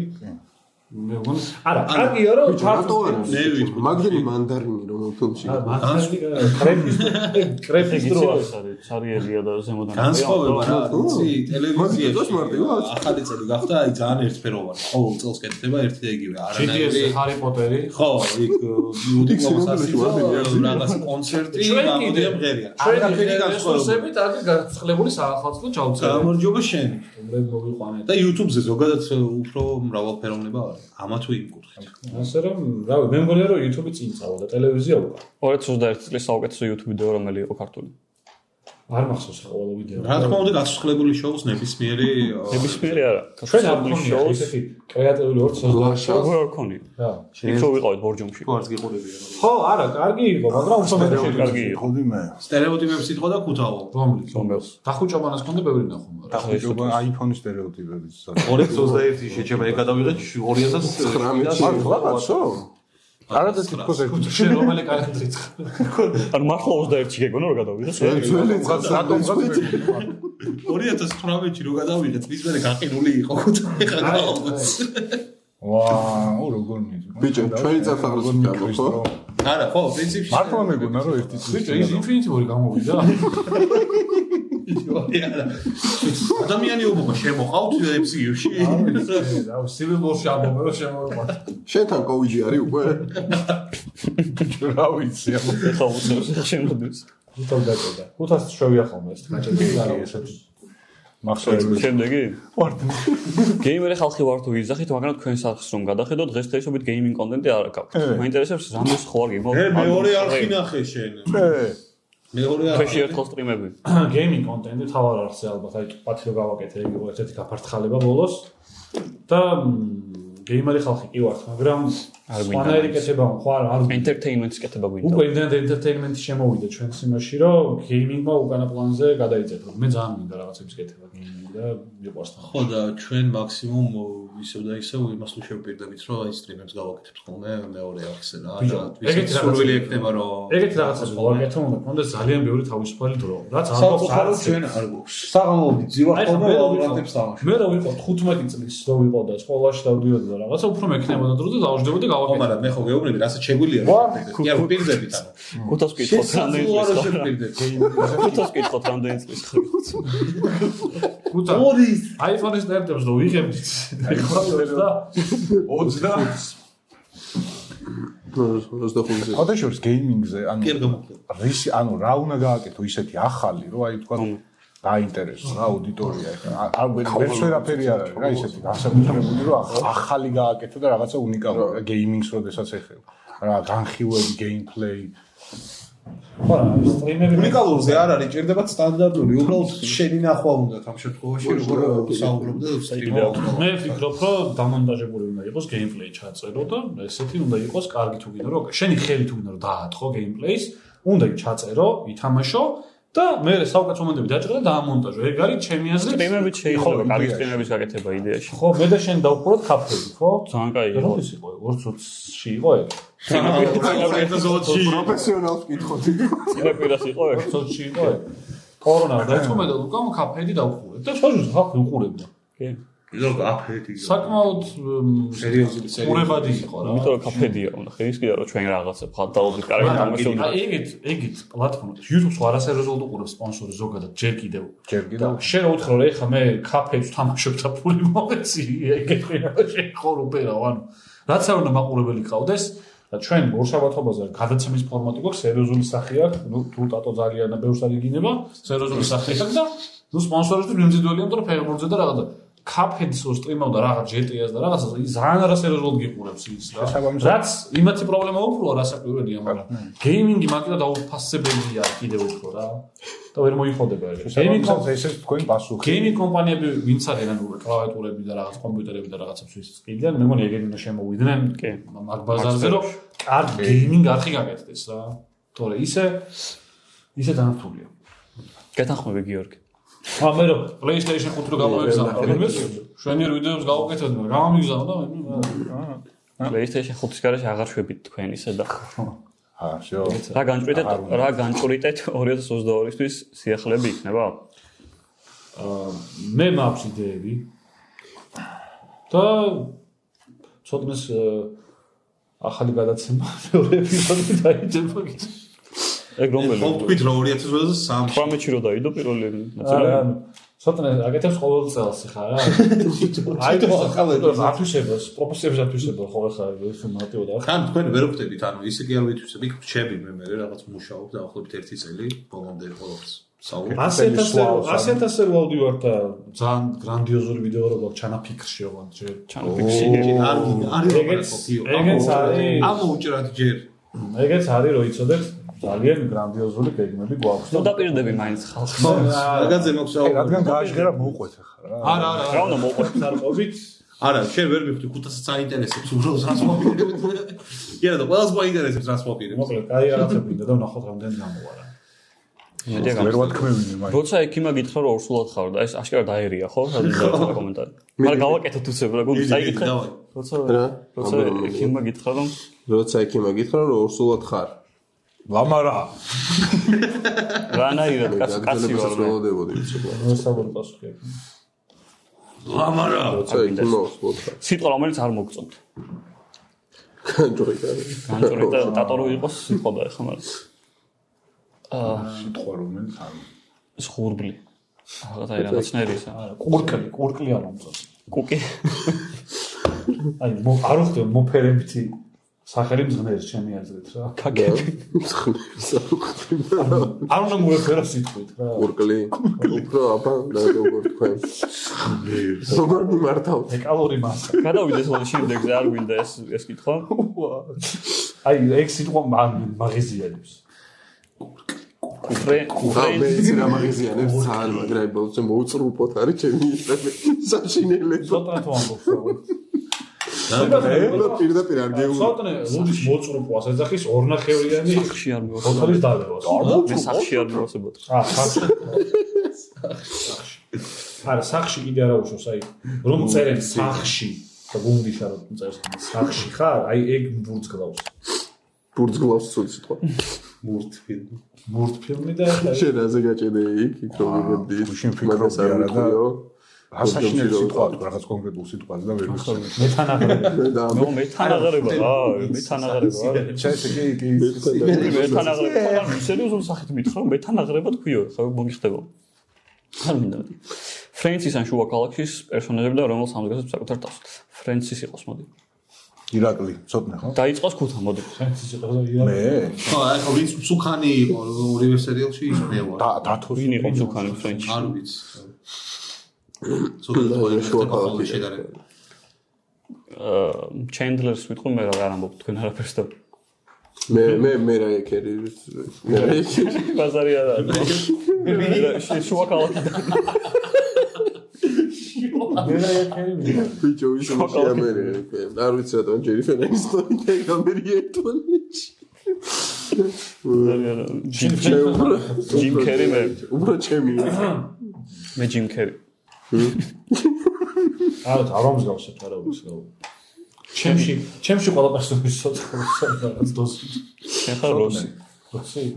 Speaker 2: მე მგონი, არა, კარგია რომ
Speaker 5: რატო არ
Speaker 2: ჩარტო
Speaker 3: მე
Speaker 5: არის?
Speaker 3: ვიტყვი.
Speaker 5: მაგდენი მანდარინი რომ ფილმში
Speaker 2: მაგარი კრეფის კრეფის
Speaker 1: ეგ
Speaker 2: დრო
Speaker 1: იცი ეს არის ცარიერია და ზემოდან.
Speaker 3: განსხვავება რა, იცი,
Speaker 5: ხო. მაგით
Speaker 3: ტელევიზიაში.
Speaker 5: დოს მარტივი, რა.
Speaker 3: ახალი წელი გახდა, აი ძალიან ერთფეროვანი. ყოველ წელს კეთდება ერთი და იგივე.
Speaker 2: GTS
Speaker 3: არანაირი
Speaker 2: ჰარი პოტერი
Speaker 3: ხო, იქ
Speaker 5: სინამდვილეში ვარ,
Speaker 3: მუდიკლოსასი რაღაცა კონცერტი
Speaker 2: ჩვენ კიდე.
Speaker 3: გამოდი მღერია.
Speaker 2: ჩვენი
Speaker 3: არაფერი განსხვავება.
Speaker 2: რესურსებით არის გაცხრებული საახალწლო ჩაუწერა.
Speaker 3: გამარჯობა შენ.
Speaker 2: რომლებ მოვიყვანეთ.
Speaker 3: და YouTube-ზე ზოგადად უფრო მრავალფეროვნება არის. ამა თუ იმ კუთხით.
Speaker 2: ასე რომ, რავი, მე მგონია რომ YouTube-ი წინ წავა და ტელევიზია უკან.
Speaker 1: 2021 წლის საუკეთესო YouTube ვიდეო რომელი იყო ქართული?
Speaker 2: არ მახსოვს რა ყველა ვიდეო.
Speaker 3: რა თქმა უნდა, გასუსხლებული შოუს ნებისმიერი
Speaker 1: ნებისმიერი არა.
Speaker 2: ჩვენ არ
Speaker 1: ქართული
Speaker 2: გქონია
Speaker 1: შოუს
Speaker 2: ესეთი კრეატიული ორცო
Speaker 5: გლაშა
Speaker 1: როგორ არ ქონი?
Speaker 2: რა.
Speaker 1: იქ რო ვიყავით ბორჯომში.
Speaker 3: თუ არც გიყურებია.
Speaker 2: ხო, არა, კარგი იყო, მაგრამ უფრო მეტი
Speaker 1: შევიდა. კარგი იყო.
Speaker 4: ხუდი მე.
Speaker 3: სტერეოტიპებს ითხოვ და ქუთაო.
Speaker 2: რომლის?
Speaker 1: რომელს?
Speaker 2: დახუჭობანას ქონდა ბევრი ნახო, მაგრამ.
Speaker 4: ხუჯობა iPhone-ის стереოტიპების საკითხი.
Speaker 3: 221 შეჩება ეგ გადავიღეთ 2019
Speaker 5: 19
Speaker 4: რაღაცო? არა და თითქოს ეგ
Speaker 2: შენ რომელი კალენდრით ხარ?
Speaker 1: ან მართლა 21-ში გეგონა რომ გადავიღეს?
Speaker 5: ძველი
Speaker 4: რატომ გაგიწევი?
Speaker 3: 2018-ში რო გადავიღეთ, მის მერე გაყინული იყო ქუთაო ხა გამოდის.
Speaker 4: ვაუ, როგორ მიდი.
Speaker 5: ბიჭო, ჩვენი წელს აღარ ვსკამო, ხო?
Speaker 3: არა, ხო, პრინციპში
Speaker 4: მართლა მეგონა რომ ერთი წელი.
Speaker 2: ბიჭო, ის Infinity War გამოვიდა.
Speaker 3: არა. ადამიანი უბობა შემოყავთ MCU-ში.
Speaker 2: რა, Civil War-ში ამბობენ რომ შემოვიყვანთ.
Speaker 5: შენთან კოვიდი არის უკვე?
Speaker 4: რა ვიცი.
Speaker 1: ეხლა უცნაური შემოდის.
Speaker 2: თვითონ დაკოდა. 500 შევია ხოლმე ეს გაჭედი და ესეთი.
Speaker 4: მახსოვს
Speaker 1: შემდეგი? გეიმერი ხალხი ვარ თუ ვიზახით, მაგრამ თქვენ სახს რომ გადახედო, დღეს დღეისობით გეიმინგ კონტენტი არ გაქვთ.
Speaker 4: ე.
Speaker 1: მაინტერესებს რამის ხო არ გიგო?
Speaker 3: მე მეორე არ ხინახე შენ. მეორე არ.
Speaker 1: ქვეში ერთხელ სტრიმები.
Speaker 2: გეიმინგ კონტენტი თავარ არცე ალბათ, აი პათი რო გავაკეთე, იგი იყო ესეთი გაფარცხალება ბოლოს. და მ, გეიმერი ხალხი კი ვართ, მაგრამ
Speaker 1: არ გვინდა
Speaker 2: სვანაერი
Speaker 1: ის.
Speaker 2: კეთება ხო არ არ გვინდა.
Speaker 1: entertainment-ს კეთება
Speaker 2: უკვე
Speaker 1: გვინდა.
Speaker 2: იმდანად entertainment-ი შემოვიდა ჩვენს იმაში, რომ გეიმინგმა უკანა პლანზე გადაიწერა. მე ძალიან მინდა რაღაცებს კეთება გეიმინგი და მიყვარს თან.
Speaker 3: ხო და ჩვენ მაქსიმუმ ო, ისევ და ისევ იმას თუ შევპირდებით, რომ აი სტრიმებს გავაკეთებთ ხოლმე მეორე არხზე რა.
Speaker 2: ბიჭო,
Speaker 3: და
Speaker 2: ეგეთი
Speaker 3: ვისაც
Speaker 2: რაღაცა-
Speaker 3: სურვილი ექნება რომ
Speaker 2: ეგეთ რაღაცას გავაკეთო, უნდა კონდეს ძალიან ბევრი თავისუფალი დრო, რაც არ გვაქვს არ
Speaker 3: საერთოდ ჩვენ არ გვაქვს. საღამოობით ძილავ
Speaker 2: აი, ხა, მე
Speaker 3: ხოლმე
Speaker 2: რა
Speaker 3: ვიღებს
Speaker 2: ვიყო?
Speaker 3: თამაში.
Speaker 2: მე რა ვიყო 15 წლის რო ვიყო და სკოლაში დავდიოდი და რაღაცა უფრო მექნებოდა დრო და დავждდები და
Speaker 3: ხო,
Speaker 2: გავაკეთე.
Speaker 3: მაგრამ მე ხო გეუბნები, რასაც შეგვიძლია რა ვაკეთებ. კი არ ვპირდებით ანუ.
Speaker 1: კუთას გითხოთ რამდენი
Speaker 3: შესაძლოა რომ
Speaker 1: წლის ხარ?
Speaker 3: შევპირდეთ.
Speaker 1: კუთას გითხოთ რამდენი წლის ხარ?
Speaker 2: ხუთა
Speaker 3: ორის
Speaker 2: iPhone-ის ნერდებს რო ვიღებდით. და
Speaker 4: 25.
Speaker 5: 25-ზე.
Speaker 4: ხოდა შორს გეიმინგზე,
Speaker 3: კი არ
Speaker 4: ანუ
Speaker 3: გამოგდება.
Speaker 4: რის ანუ რა უნდა გააკეთო ისეთი ახალი, რომ აი თქვა დაინტერესოს რა აუდიტორია ეხლა. არ- არ ვერ ვერაფერი არ არის რა ისეთი განსაკუთრებული, რომ ახ- ახალი გააკეთო და რაღაცა უნიკალური, რა, გეიმინგს როდესაც ეხება. რა განხილვები, გეიმპლეი
Speaker 2: ხო, სტრიმერი
Speaker 3: უნიკალურზე არ არის, ჭირდება სტანდარტული, უბრალოდ შენი ნახვა უნდათ ამ შემთხვევაში, როგორ საუბრობ და
Speaker 2: მე
Speaker 3: სტრიმავ.
Speaker 2: ვფიქრობ, რომ დამონტაჟებული უნდა იყოს გეიმპლეი ჩაწერო და ესეთი უნდა იყოს კარგი თუ გინდა, რომ შენი ხელი თუ გინდა რომ დაათხო გეიმპლეის, უნდა ჩაწერო, ითამაშო და მე საუკეთესო მომენტები დაჭერა და დაამონტაჟო. ეგ არის ჩემი აზრით.
Speaker 1: სტრიმებით შეიძლება კარგი სტრიმების გაკეთება იდეაში.
Speaker 2: ხო, მე და შენ დავუყუროთ კაფეები, ხო?
Speaker 1: ძალიან კაი იყო.
Speaker 2: როდის იყო? 220-ში იყო ეგ.
Speaker 6: ეთოზოთში
Speaker 5: პროფესიონალს ვკითხოთ.
Speaker 1: წინა კვირას იყო ეგ.
Speaker 2: სოჩში იყო ეგ. კორონა დაიწყო მე და ლუკამ კაფეები დავუყურეთ და შოჟუს ხალხი უყურებდა.
Speaker 1: კი.
Speaker 3: იზო აფეთი.
Speaker 2: საკმაოდ მ,
Speaker 3: სერიოზული
Speaker 2: ყურებადი იყო რა.
Speaker 1: იმიტომ რომ კაფედია უნდა ხის კიდე რომ ჩვენ რაღაცა ხარ დავუდი კარგი
Speaker 2: მაგრამ
Speaker 1: თამაში უნდა.
Speaker 2: აი, ეგეთ ეგეთ პლატფორმებს YouTube-ს არასერიოზულად უყურებს სპონსორი ზოგადად ჯერ კიდევ.
Speaker 4: ჯერ
Speaker 2: და
Speaker 4: კიდევ
Speaker 2: შენ რა უთხრა რა ეხა მე კაფეებს თამაშობ და ფული მომეცი ეგეთ შენ ხო უპერავ ანუ რაც არ უნდა მაყურებელი გყავდეს და ჩვენ ორშაბათობაზე გადაცემის ფორმატი გვაქვს სერიოზული სახე აქვს ნუ თუ ტატო ძალიან ბევრს არ იგინება სერიოზული სახე აქვს და ნუ სპონსორები მიმზიდველია იმიტომ რომ ფეგმორზე და რაღაცა კაფედს ო სტრიმავდა რაღაც GTA-ს და რაღაცა ის ძალიან არასერიოზულად გიყურებს ის რა
Speaker 4: შესაბამისად.
Speaker 2: რაც იმათი პრობლემა უფრო რასაკვირველია მაგრამ გეიმინგი მარტო დაუფასებელია კიდევ უფრო რა და ვერ მოიხოდება ეგ გეიმინგი ხო-
Speaker 4: შეიძლება ესეც თქვენ პასუხი.
Speaker 2: გეიმი კომპანიები ვინც არიან ანუ კლავიატურები და რაღაც კომპიუტერები და რაღაცებს ვის ყიდიან, მე მგონი ეგენი უნდა შემოვიდნენ კი მაგ ბაზარზე რომ კარგ გეიმინგ არხი გაკეთდეს რა. თორე ისე ისე დანართულია.
Speaker 1: გეთანხმები გიორგი.
Speaker 2: ა მე რომ PlayStation 5 რომ გამოვეგზავნა, რომელს შვენიერ ვიდეოებს გავუკეთებთ, მაგრამ გამომიგზავნა და მე
Speaker 1: PlayStation 5-ის გარეშე აღარ შვებით თქვენ ისე და
Speaker 4: აა, შო.
Speaker 1: რა განჭვრიტეთ რა განჭვრიტეთ 2022-ისთვის სიახლეები იქნება?
Speaker 2: აა, მე მაქვს იდეები და ცოტნეს ახალი გადაცემა მეორე ეპიზოდი დაიდება კიდე.
Speaker 1: ეგ
Speaker 3: ხო
Speaker 1: რომელი?
Speaker 3: ვთქვით რა 2023-ში
Speaker 1: 18-ში რო დაიდო პირველი
Speaker 2: არა,
Speaker 1: ნაწილი.
Speaker 2: ანუ ცოტნე აკეთებს ყოველ წელს ხა რა. აი
Speaker 3: თვითონ ახალები.
Speaker 2: ათვისებას, პროფესიებს ათვისება ხო ხა ეს მარტივად არ ხარ.
Speaker 3: ხან თქვენ ვერ ვხვდებით, ანუ ისე კი არ ვითვისები, ხჩები მე მე რაღაც მუშაობ დაახლოებით 1 წელი ბოლომდე ყოველთვის. საუბრობ.
Speaker 2: 100.000 100.000 ვავდი ვარ და ძალიან გრანდიოზული ვიდეო რო გვაქვს ჩანაფიქრში ოღონდ ჯერ.
Speaker 1: ჩანაფიქში.
Speaker 3: არ არის
Speaker 2: ეგეც ეგეც არის
Speaker 3: ამოუჭრათ ჯერ.
Speaker 2: ეგეც არის რომ იცოდეთ ძალიან გრანდიოზული გეგმები გვაქვს
Speaker 1: ნუ დაპირდები მაინც ხალხს.
Speaker 3: მაგაზე მაქვს საუბარი.
Speaker 4: რადგან გააჟღერა მოუყვეთ ახლა რა.
Speaker 2: არა არა
Speaker 1: რა უნდა მოყვეთ?
Speaker 2: სარყობით
Speaker 3: არა, შენ ვერ მივხვდი, ხუთასაც აინტერესებს უბრალოდ რას მოპირებ. კი არა, და ყველას მოაინტერესებს რას მოპირებ.
Speaker 2: მოკლედ აი რაღაცები მინდა და ვნახოთ რამდენი გამოვარა
Speaker 1: მე
Speaker 4: ვერ
Speaker 1: გამოს.
Speaker 4: ვთქმევინე მაინც.
Speaker 1: როცა იქ იმა გითხრა რომ ორსულად ხარ და ეს აშკარა დაერია ხო? სადღაც კომენტარი. მაგრამ გავაკეთეთ უცებ რა გულ წაიკითხე.
Speaker 3: დავაი.
Speaker 1: როცა
Speaker 5: რა?
Speaker 1: როცა იქ იმა გითხრა რომ
Speaker 5: როცა იქ იმა გითხრა რომ ორსულად ხარ.
Speaker 4: ლამარა.
Speaker 1: რანაირად კაცი კაცი ვარ მე.
Speaker 5: ველოდებოდი ცოტა.
Speaker 2: მოსაბურ პასუხი აქვს
Speaker 3: ლამარა.
Speaker 5: როცა იქ იმა ორსულად ხარ.
Speaker 1: სიტყვა რომელიც არ მოგწონთ.
Speaker 5: განჯორი და
Speaker 1: განჭორიტა დატორო იყოს სიტყვა და ეხლა მაგრამ აა
Speaker 4: სიტყვა რომელიც არ
Speaker 1: ზღურბლი რაღაცა რაღაცნაირი ისა
Speaker 2: არა კურკლი კურკლი არ მომწონს
Speaker 1: კუკი
Speaker 2: აი მო- არ უხდე მოფერებითი სახელი მძღნერის ჩემი აზრით რა
Speaker 1: კაკები
Speaker 5: მსხლისა ხდება.
Speaker 2: არ უნდა მოეფერა სიტყვით რა
Speaker 5: ურკლი უფრო აბა და როგორ თქვენ როგორ მიმართავთ
Speaker 2: ეკალორი მასა
Speaker 1: გადავიდეს ხოლმე შემდეგზე არ გვინდა ეს ეს კითხვა
Speaker 2: აი ეგ სიტყვა მაგ- მაღიზიანებს
Speaker 1: კუფრე
Speaker 5: და მე
Speaker 1: კუფრე
Speaker 5: იცი რა მაგაზიანებს ძალიან მაგრამ აი ბოლოს მოუწრუპოთ არის ჩემი ისები საშინელებო
Speaker 2: ცოტა თუ ამბობს რა
Speaker 5: და პირდაპირ არ გეუბნები
Speaker 2: ცოტნე ლუდის მოწრუპვა ასახის ორნახევრიანი
Speaker 1: სახში არ მივახსენე
Speaker 2: ოთალის დალევას
Speaker 1: მე სახში არ მივახსენე
Speaker 2: აა სახში არა სახში კიდე არა უშავს აი რომ წერენ სახში და გუნდიშა რომ წერს სახში ხარ აი ეგ ბურძგლავს
Speaker 5: ბურძგლავს სულ სიტყვა
Speaker 3: მურთფილ.
Speaker 2: ბურთფილმი და ახლა
Speaker 5: შენ რაზე გაჭედე იქ იქ რომ მიგებდი
Speaker 4: გუშინ ფიქრობდი
Speaker 5: არ
Speaker 4: არა და-
Speaker 5: მიყიო
Speaker 4: რა საშინელი სიტყვა აქვს რაღაც კონკრეტულ სიტყვას და ვერ ვიცი.
Speaker 2: მე თან აღარ
Speaker 5: და
Speaker 1: ნუ მე თანაღარება რა მე თანაღარება რა
Speaker 4: ჩა ესე კი კი
Speaker 1: მე თანაღარება ხარ სერიოზულ სახით მითხრა მე თანაღარება თქვიო ხა მოგიხდება არ მინდა მეტი ფრენსის ან შუა კალაქსის პერსონაჟები და რომელს ამდგაცებს საკუთარ თავს ფრენსის იყოს მოდი
Speaker 4: ირაკლი ცოტნე ხო?
Speaker 1: დაიწყოს ქუთა მოდი
Speaker 4: მე
Speaker 3: ხო, ახლა ვინც მსუქანი იყო ორივე სერიალში ის მე ვარ.
Speaker 4: და დათოს
Speaker 1: ვინ იყო ზუქანი ფრენჩი
Speaker 3: არ ვიცი. ცოტა ხვალე შედარება.
Speaker 1: აა, ჩენდლერს ვიტყვი მე რა არ ამბობ თქვენ არაფერს და
Speaker 5: მე მე მე რა ეკერი მე რა ეკერი
Speaker 1: ბაზარი არ არის. შე შუა ქალაქიდან.
Speaker 5: ბიჭო ის მაშინ ამერე არ ვიცი რატომ ჯერი ფერენის და გამერი ერთონიჩი
Speaker 1: ჯიმ
Speaker 5: მე უფრო
Speaker 1: ჯიმ კერი მე
Speaker 5: უფრო ჩემი
Speaker 1: მე ჯიმ კერი.
Speaker 2: არა არომს გავსეთ არაობის გავ ჩემში ჩემში ყველა პერსონაჟი სოციალური რაღაც დოზი
Speaker 1: შენ ხარ როსი.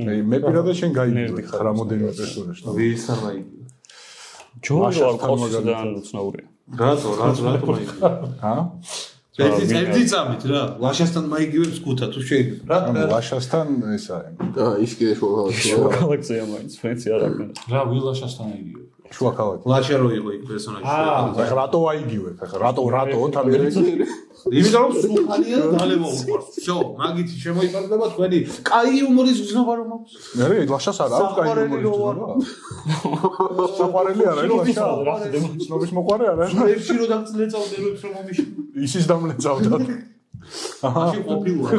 Speaker 4: მე მე პირადად შენ გაიგე ხარ რამოდენიმე პერსონაჟს.
Speaker 3: ვისამა იგი.
Speaker 1: ჯორი
Speaker 4: მაშინ
Speaker 1: არ
Speaker 4: ხარ
Speaker 1: ყოსიდან უცნაურია.
Speaker 3: რატო, რატო, რატო მაიგივებს?
Speaker 4: ჰა?
Speaker 3: ერთი ერთი წამით რა, ლაშასთან მაიგივებს გუთა თუ შეიძლება. რა
Speaker 4: ამ
Speaker 3: რა, რა
Speaker 4: ლაშასთან ესაა.
Speaker 5: და ის კიდე შუა
Speaker 1: შუა ქალაქზეა მაინც ფრენცი არ აქვს.
Speaker 2: რა ვილაშასთან აიგიო
Speaker 4: შუა ქალაქი.
Speaker 3: ლაშა რო იყო იქ პერსონაჟი.
Speaker 4: აა, ხა რატო აიგივებ? ხა რატო რატო თამი
Speaker 3: იმიტომ რომ სულხანია და დალევა უყურს. შო, მაგითი შემოიფარდება თქვენი კაი უმორის გზნობა რომ აქვს.
Speaker 4: მე ლაშას არ აქვს
Speaker 3: საყვარელი
Speaker 4: გაიგე.
Speaker 3: რო ვარ.
Speaker 4: საყვარელი არა ეს ლაშა. ცნობის მოყარე არა.
Speaker 3: ერთში რო დაგწლეწავდებებს რომ მომიშინა.
Speaker 4: ისის დამლეწავდა.
Speaker 3: მაშინ ყოფილვარ.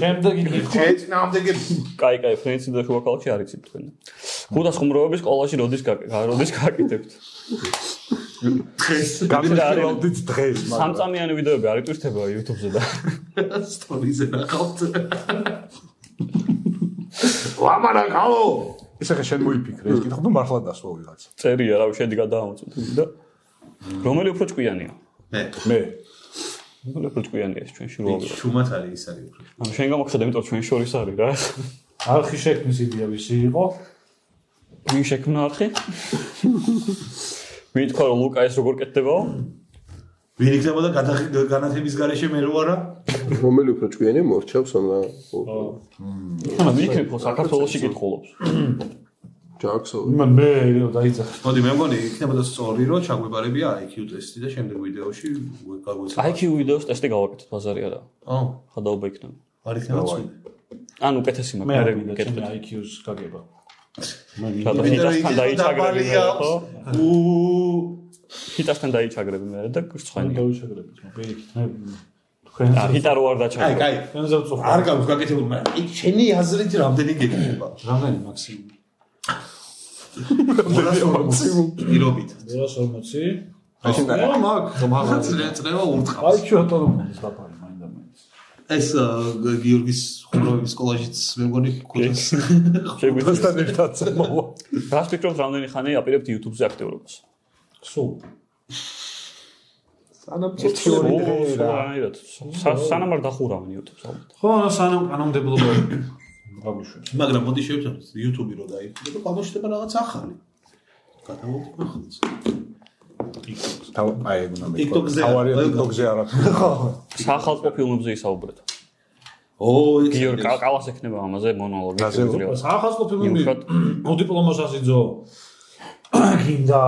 Speaker 2: შემდეგ იგი
Speaker 3: შეეწინააღმდეგე
Speaker 1: კაი კაი ფრენცი და შუა ქალაქში არ იცით თქვენ. ხუთას ხუმროვების სკოლაში როდის გაკეთებთ? როდის გაკეთებთ?
Speaker 3: დღეს
Speaker 4: გამირავდით დღეს, მაგრამ
Speaker 1: სამწამიანი ვიდეოები არ იტვირთება YouTube-ზე და
Speaker 3: სტორიზე ნახავთ. ლამანა გალო.
Speaker 4: ესე ხა შენ მოიფიქრე, ეს კითხო და მართლა დასვა ვიღაც.
Speaker 1: წერია რა შედი გადაამოწმოთ და რომელი უფრო ჭკვიანია?
Speaker 3: მე
Speaker 4: მე
Speaker 1: რომელი უფრო ჭკვიანია ეს ჩვენში როა?
Speaker 3: ჩუმად არის ის არის უფრო.
Speaker 1: ანუ შენ გამოგხედა, იმიტომ რომ ჩვენ შორის არის რა.
Speaker 2: არხი შექმნის იდეა ვისი იყო
Speaker 1: ვინ შექმნა არხი? ვინ თქვა რომ ლუკა ეს როგორ კეთდებაო?
Speaker 3: ვინ იქნებოდა გადაღ- განათების გარეშე მე რო არა?
Speaker 5: რომელი უფრო ჭკვიანი მორჩავს ან რა
Speaker 1: ანუ ვიქნებ ხო საქართველოსში კითხულობს.
Speaker 5: ჯაქსო
Speaker 2: იმან მე რომ დაიძახე
Speaker 3: მოდი მე მგონი იქნებოდა სწორი რომ ჩაგვეპარებია IQ ტესტი და შემდეგ ვიდეოში გაგვეცადა.
Speaker 1: IQ ვიდეოს ტესტი გავაკეთეთ ბაზარი არა.
Speaker 3: ო,
Speaker 1: ხადაობა იქნება.
Speaker 3: არ იქნება წვი.
Speaker 1: ან უკეთესი
Speaker 2: მე არ
Speaker 1: მაგარი
Speaker 2: მივიდა ჩემი
Speaker 1: გეკეთე.
Speaker 2: IQ-ს გაგება
Speaker 1: და ჰიტასთან დაიჩაგრები მე ხო?
Speaker 3: უ
Speaker 1: ჰიტასთან დაიჩაგრები მე და
Speaker 2: ან
Speaker 1: ცხენი.
Speaker 2: დავიშაგრებით მე იქნებ თქვენ
Speaker 1: აა ჰიტა რო არ
Speaker 3: აი,
Speaker 1: დაჩაგრე.
Speaker 3: კაი.
Speaker 2: თქვენზე ვწუხარ
Speaker 3: არ გაქვს გაკეთებული, მაგრამ იქ შენი აზრით რამდენი გეკეთება?
Speaker 2: რამდენი მაქსიმუმი
Speaker 3: 240 პირობით.
Speaker 2: 240
Speaker 3: რა მაგ მაგაც წნევა ურთხავს.
Speaker 2: აი ჩვენ ავტონომიის ლაპარი მაინდა მაინც
Speaker 3: ეს ა, გ- გიორგის ხუმრობის სკოლაშიც მე მგონი ქუთას
Speaker 1: შეგვიძლია.
Speaker 4: დასთან ერთად მოვა.
Speaker 1: რა ვფიქრობთ რამდენი ხანია აპირებთ YouTube-ზე აქტიურობას?
Speaker 2: სულ
Speaker 1: ორი რამერად. სანამ არ დახურავენ YouTube-ს ალბათ.
Speaker 2: ხო რა სანამ კანონმდებლობა გაგვიშვენ
Speaker 3: მაგრამ მოდი შევცვალოთ YouTube-ი რო დაიფიქრო, გამოჩნდება რაღაც ახალი. გადავალთ ახალს.
Speaker 4: თავ აი უნდა მე.
Speaker 3: TikTok-ზე არ-
Speaker 4: თავარი TikTok-ზე არა.
Speaker 1: სახალხო ფილმებზე ისაუბრეთ.
Speaker 3: ო, ეს
Speaker 1: გიორგი კა- კავას ექნება ამაზე მონოლოგი.
Speaker 4: გაზე
Speaker 1: შეგვიძლია.
Speaker 2: ახალსო ფილმი
Speaker 1: იუხად.
Speaker 2: მოდიპლომოსას იძო გინდა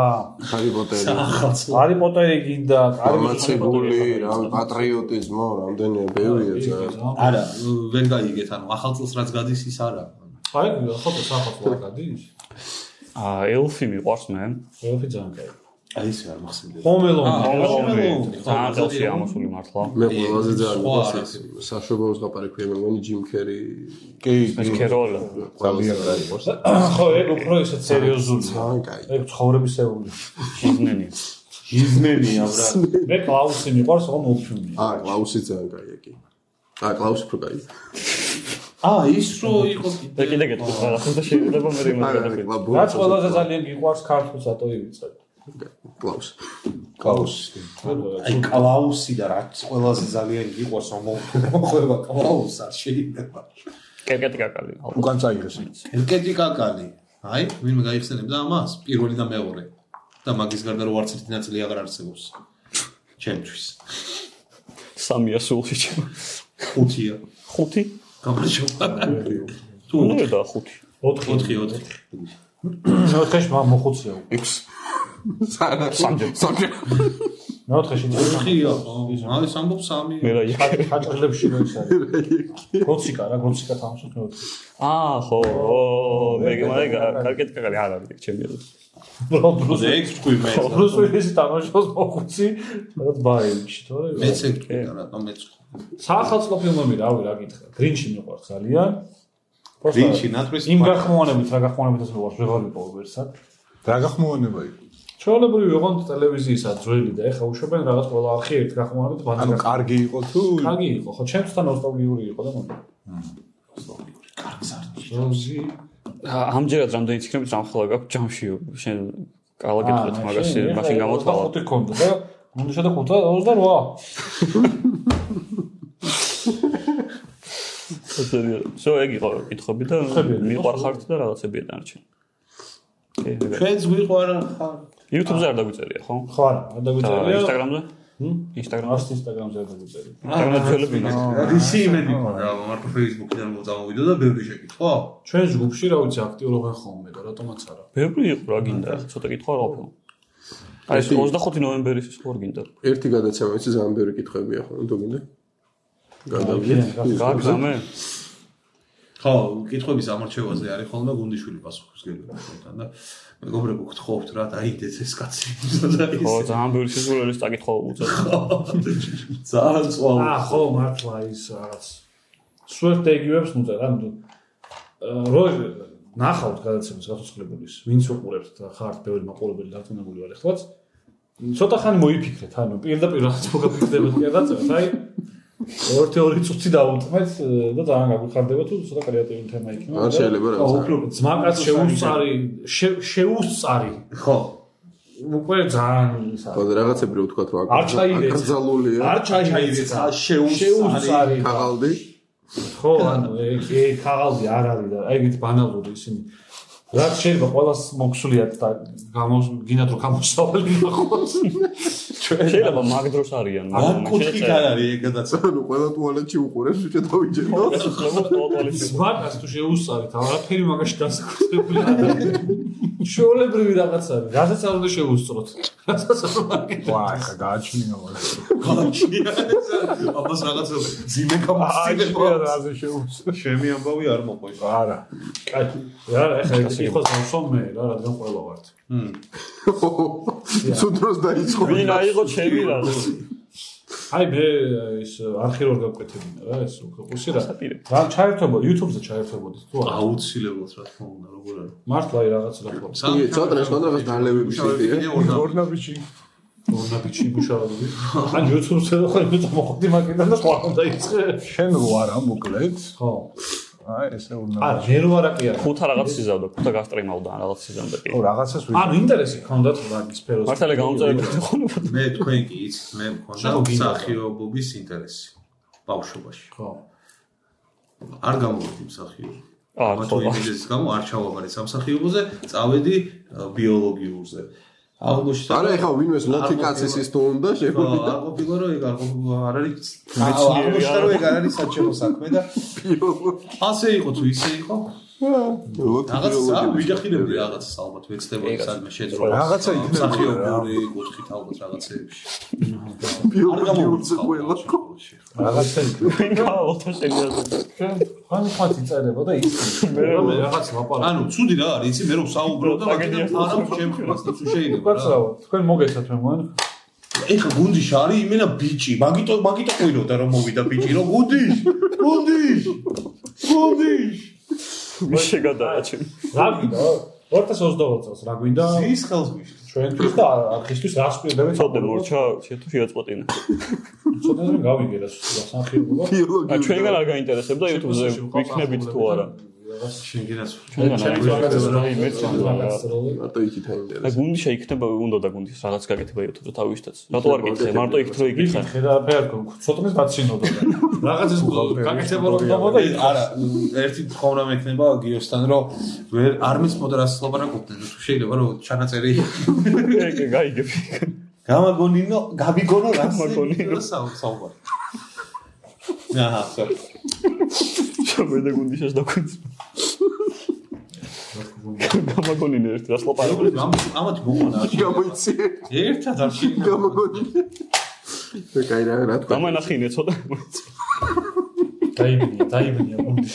Speaker 5: ჰარი პოტერი
Speaker 3: ახალს.
Speaker 2: ჰარი პოტერი გინდა კარი
Speaker 5: გამაცებული რა პატრიოტიზმო რამდენი ბევრია ძალიან
Speaker 3: არა, ვერ გაიგეთ, ანუ ახალ წელს რაც გადის ის არა.
Speaker 2: აი ხო და სახალხო არ გადის
Speaker 1: აა ელფი მიყვარს მე.
Speaker 2: ყველაფერი ძალიან კაი
Speaker 3: აი ეს არ მახსენდება.
Speaker 2: ჰომელონი
Speaker 1: ძალიან ხელში ამოსული მართლა.
Speaker 5: მე ყველაზე ძალიან
Speaker 3: სხვა
Speaker 5: მიყვარს
Speaker 3: არა.
Speaker 5: ეს საშობაოს ლაპარაკი მე მგონი ჯიმ კერი
Speaker 4: კი,
Speaker 1: ეს ქეროლა.
Speaker 4: ძალიან გაიგოს.
Speaker 2: ხო ეგ უფრო ისე სერიოზულია
Speaker 5: ან კაი
Speaker 2: ეგ ცხოვრებისეული
Speaker 1: შიზნენი.
Speaker 3: იზმენია ბრატ.
Speaker 2: მე კლაუსი მიყვარს რომ ოფიუმი
Speaker 5: აა კლაუსი ძალიან კაია კი აა კლაუსი უფრო კაი
Speaker 3: აა, ის რო იყო
Speaker 1: და
Speaker 3: კიდე.
Speaker 1: კიდე გეტყვით რაღაცა და შეიძლება მე იმას
Speaker 5: არა
Speaker 1: გადახედე.
Speaker 5: კლაუსი
Speaker 2: რაც ყველაზე ძალიან გიყვარს ქართულს ატო ივიცეთ
Speaker 5: კლაუსი
Speaker 4: კლაუსი.
Speaker 3: აი კლაუსი და რაც ყველაზე ძალიან გიყვარს რომ მოხვდება კლაუს არ შეიძლება.
Speaker 1: კერკეტი კაკალი. ალბათ.
Speaker 4: უკან წაიღეს ის.
Speaker 3: კერკეტი კაკალი. აი, ვინმე გაიხსენებდა ამას? პირველი და მეორე. და მაგის გარდა რო არც ერთი ნაწილი აღარ არსებობს. ჩემთვის.
Speaker 1: სამია სულში ჩემ.
Speaker 3: ხუთია.
Speaker 1: ხუთი?
Speaker 3: გამარჯობა. თუ
Speaker 1: უნდა და ხუთი.
Speaker 2: 4
Speaker 3: 4 4.
Speaker 2: 4-ში მოხუცია უკვე.
Speaker 5: 6 სამჯერ სამჯერ
Speaker 2: მეოთხეში ის
Speaker 3: 4-ია. აი, სამბობ 3.
Speaker 1: მე რა იქ.
Speaker 2: ხაჭრლებში რო ის არის. გოციკა რა, გოციკა თამაშობს მეოთხე.
Speaker 1: აა ხო. ო, მე მე კერკეტი კაკალი არ არის ეგ ჩემი.
Speaker 2: ბრუს
Speaker 3: ეგ თქვი მე.
Speaker 2: ბრუს უილისი თამაშობს მოხუცი, რაღაც ბაილში, თორე.
Speaker 3: მეც ეგ თქვი და რატომ მეც. თქვი.
Speaker 2: საახალწლო ფილმები რავი რა გითხრა. გრინჩი მიყვარს ძალიან. პროსტა
Speaker 3: რინჩი ნატვრის
Speaker 2: იმ გახმოვანებით რა გახმოვანებით ეს მიყვარს ვეღარ ვიპოვებ ვერსად.
Speaker 4: რა გახმოვანება იყო?
Speaker 2: ჩვეულებრივი ვეღონდ ტელევიზიისა ძველი და ეხა უშობენ რაღაც ყველა ახი ერთ გახმოვანებით
Speaker 4: ანუ
Speaker 2: ბანაკს.
Speaker 4: კარგი იყო თუ
Speaker 2: კარგი იყო, ხო, ჩემსთან ნოსტალგიური იყო და მოდი. ნოსტალგიური,
Speaker 1: ა- ამჯერად რამდენი ცხრებით სამხელა გაქვს ჯამში შენ კალა
Speaker 2: კარგს
Speaker 1: გეტყვით
Speaker 2: არის.
Speaker 1: მაგასი მაშინ გამოთვალა
Speaker 2: ხუთი კონდა და მუნდა და ხუთა 28.
Speaker 1: სო ეგ იყო კითხები და
Speaker 2: კითხები,
Speaker 1: მიყვარხართ და რაღაცებია დანარჩენი კი, ეგ არის.
Speaker 3: ჩვენ ზღვიღო არა ხარ
Speaker 1: YouTube-ზე არ დაგვიწერია ხო?
Speaker 2: ხო არა, არ
Speaker 1: და
Speaker 2: დაგვიწერია.
Speaker 1: Instagram-ზე?
Speaker 2: ჰმ?
Speaker 1: Instagram-ზე.
Speaker 2: მას Instagram-ზე არ დაგვიწერია.
Speaker 1: Instagram-ზე ძველები ნა.
Speaker 3: რისი იმედი ყოდა მარკო Facebook-დან მოწამოვიდა და ბევრი შეკითხვა
Speaker 2: ჩვენ ჯგუფში რა ვიცი აქტიურობენ ხოლმე და რატომაც არა.
Speaker 1: ბევრი იყო რა გინდა, ცოტა კითხვა რა ყოფილა. აი ეს 25 ნოემბერის ის ხო არ გინდა.
Speaker 5: ერთი გადაცემა ვიცი ძალიან ბევრი კითხვებია ხო თუ გინდა გადავიდეთ
Speaker 1: გააგზამე?
Speaker 3: ხო კითხების ამორჩევაზე არის ხოლმე გუნდიშვილი პასუხისგებელი ჩვენთან და მეგობრებო გთხოვთ რა დაიდეთ ეს კაცი და
Speaker 1: ხო,
Speaker 3: ის
Speaker 1: ძალიან ბევრი სიზულელის წაკითხვა უწევს.
Speaker 3: ძალიან წვალ
Speaker 2: აა ხო მართლა ის რაღაც სუერტ ეგივებს მოწერ ან აა, რო ნახავთ გადაცემას გასასრულებულის ვინც უყურებთ და ხართ ბევრი მაყურებელი დათუნებული ვარ ახლაც ცოტა ხანი მოიფიქრეთ ანუ პირდაპირ რაღაც მოგაფიქრდებათ გადაცემას აი ორთე ორი წუთი დავუტმეთ აა, და ძალიან გაგვიხარდება თუ ცოტა კრეატიული თემა იქნება
Speaker 5: არ შეიძლება
Speaker 3: ხო
Speaker 5: რაღაც
Speaker 3: უფრო
Speaker 2: ძმაკაც შეუსწარი შე- შეუსწარი
Speaker 3: ხო
Speaker 2: უკვე ძალიან ის არის
Speaker 5: ხო და რაღაცებრივ თქვა რომ
Speaker 2: არ ჩაიდეთ.
Speaker 5: აკრძალულია
Speaker 2: არ ჩაიდეს
Speaker 3: შეუსწარი
Speaker 5: ქაღალდი
Speaker 2: ხო, ანუ ეგ ეგ ქაღალდი არ არის და აი ვით ბანალური ისინი. რაც შეიძლება ყოველას მოგსულიათ და გამოგინათ რომ გამოსავალი გახოს.
Speaker 1: შეიძლება მაგდროს არიან,
Speaker 3: ამ
Speaker 1: მაგრამ
Speaker 3: კუთხით არ არის ეგ გადაცა
Speaker 5: ანუ ყველა ტუალეტში უყურებს უჭე დავიჯერდო
Speaker 1: შეიძლება ტოტალიზმი.
Speaker 2: ზვაკას თუ შეუსწარით, არაფერი მაგაში განსაკუთრებული არ არის. შეოლებრივი რაღაც არის. რასაც არ უნდა შეუსწროთ. რასაც არ უნდა
Speaker 4: ვა ხა გააჩნია რა
Speaker 3: ქალაქშია ეს აბას რაღაცა ძიმე გამოსწინება
Speaker 4: აჩნია რაზე შეუძლია
Speaker 3: ჩემი ამბავი არ მოყვა ის.
Speaker 4: არა
Speaker 2: კაი, რა რა ეხლა ეს იყოს მოსომე რა, რადგან ყველა ვართ.
Speaker 5: სუდროს დაიწყო
Speaker 1: ვინ აიღო ჩემი რა.
Speaker 2: აი მე ის არხი როგორ გავკეთებინა რა, ეს უკვე ყუსი რა.
Speaker 1: აპირებ.
Speaker 2: რა ჩაერთვებოდი, YouTube-ზე ჩაერთვებოდით თუ არა?
Speaker 3: აუცილებლად რა თქმა უნდა როგორ არის
Speaker 2: მართლა აი რაღაც რა ხო.
Speaker 5: კი, ცოტა ის კონტროლს დალევები შედია.
Speaker 4: გორნაბიჩი
Speaker 2: ორნაბიჩი მუშაობდი. ან YouTube-ზე და ხოლმე წამოხდი მაგიდან და სხვა უნდა იწყე.
Speaker 4: შენ რო არა მოკლედ
Speaker 2: ხო.
Speaker 4: აი ესე უნდა
Speaker 2: არა, ჯერ ვარ აკი არა.
Speaker 1: ხუთა რაღაც იზავდა, ხუთა გასტრიმავდა, ან რაღაც იზავდა კი.
Speaker 4: ხო რაღაცას
Speaker 2: ანუ ინტერესი ქონდათ მაგის სფეროს.
Speaker 1: მართლა გამომწერები ხოლმე.
Speaker 3: მე თქვენ კი იცით მე
Speaker 2: შეხო
Speaker 3: მქონდა
Speaker 2: გინდა.
Speaker 3: მსახიობობის ინტერესი ბავშვობაში
Speaker 2: ხო.
Speaker 3: არ გამოვიდი მსახიობი
Speaker 1: აა,
Speaker 3: მაგრამ
Speaker 1: ხო.
Speaker 3: თუ იმედის გამო არ ჩავაბარე სამსახიობოზე წავედი ა, ბიოლოგიურზე აღმოჩნდა
Speaker 5: არა ეხა ვინმეს ლოთი
Speaker 3: არ
Speaker 5: კაცის
Speaker 3: ყოფილა-
Speaker 5: ის თუ უნდა
Speaker 3: ხო,
Speaker 5: შეგვიძლია
Speaker 3: არ ყოფილა რომ ეგ არ ყოფილა არ არის
Speaker 1: მეცნიერი
Speaker 3: აღმოჩნდა
Speaker 1: არა.
Speaker 3: რომ ეგ არ არის საჭირო საქმე და ასე იყო თუ ისე იყო
Speaker 5: ლოთი
Speaker 3: რაღაც რა
Speaker 5: ბიოლოგია.
Speaker 3: ვიჯახილები რაღაც ალბათ ვეცდებოდი სადმე შეძრო
Speaker 4: რაღაცა იქნება რა.
Speaker 3: მსახიობური კუთხით ალბათ რაღაცეებში არ
Speaker 5: ბიოლოგიურზე ყველა
Speaker 3: გამოვიწყდა ყოველში
Speaker 2: რაღაცა იქნება.
Speaker 1: ვინ გააოთა შეიძლება.
Speaker 2: ხან ხან იწერება და ისე. მე რაღაც ლაპარაკი.
Speaker 3: ანუ ცუდი რა არის იცი მე რომ საუბრობ და მაგით
Speaker 1: ტრაგედია.
Speaker 3: არ აქვს შემთხვევას და თუ შეიძლება რა.
Speaker 2: უკაცრავად, თქვენ მოგეცათ მე მოენ.
Speaker 3: ეხა გუნდიში არის იმენა ბიჭი, მაგიტო მაგიტო ყვინოდა რომ მოვიდა ბიჭი, რომ გუნდიში, გუნდიში, გუნდიში.
Speaker 1: მე შეგადაა ჩემ.
Speaker 2: რა გვინდა? 2022 წელს რა გვინდა?
Speaker 3: ზის ხელს გვიშლის.
Speaker 2: ჩვენთვის და არქისთვის რას პირდებით?
Speaker 1: ცოტა მორჩა, შეიძლება შეაწყვეტინა.
Speaker 2: ცოტა რომ გავიგე რა სამხიობობა.
Speaker 1: და
Speaker 5: ბიოლოგიურზე.
Speaker 1: ჩვენგან არ გაინტერესებდა YouTube-ზე ვიქნებით თუ არა.
Speaker 2: რაღაც
Speaker 3: შენგენას
Speaker 1: ჩვენგან არ
Speaker 2: რაღაცა
Speaker 1: გაინტერესებდა
Speaker 2: რა
Speaker 1: მეც რა.
Speaker 2: იმეც.
Speaker 5: მარტო იქით
Speaker 1: და
Speaker 5: აინტერესებს.
Speaker 1: გუნდიშა იქნება უნდა და გუნდის რაღაც გაკეთება YouTube-ზე თავისთაც. რატო არ გიქცე? მარტო იქით რო
Speaker 2: იგი
Speaker 1: იკითხა.
Speaker 2: ხედა ფერკო ცოტნეს დაცინოდა და რაღაც ეს გაკეთება რომ გამოდა
Speaker 3: მე- არა, მ, ერთი თხოვნა მექნება გიოსთან, რომ ვერ არ მეცმოდა რას ლაპარაკობდნენ, თუ შეიძლება რომ ჩანაწერი
Speaker 1: ეგ გაიგებ.
Speaker 3: გამაგონინო, გაბიგონო რას
Speaker 1: გამაგონინო.
Speaker 3: რა საუბ- საუბარი. აჰა, სწორ.
Speaker 1: შემედა გუნდიშას დაგვიწვა. გამაგონინე ერთ რას ლაპარაკობ.
Speaker 3: როგორი ამ ამათი მომონა არ შეიძლება.
Speaker 5: გამოიცე.
Speaker 3: ერთად არ შეიძლება.
Speaker 5: გამოგონი. და კაი რა რა თქვა.
Speaker 1: გამანახინე ცოტა.
Speaker 2: დაიბნია დაიბნია გუნდში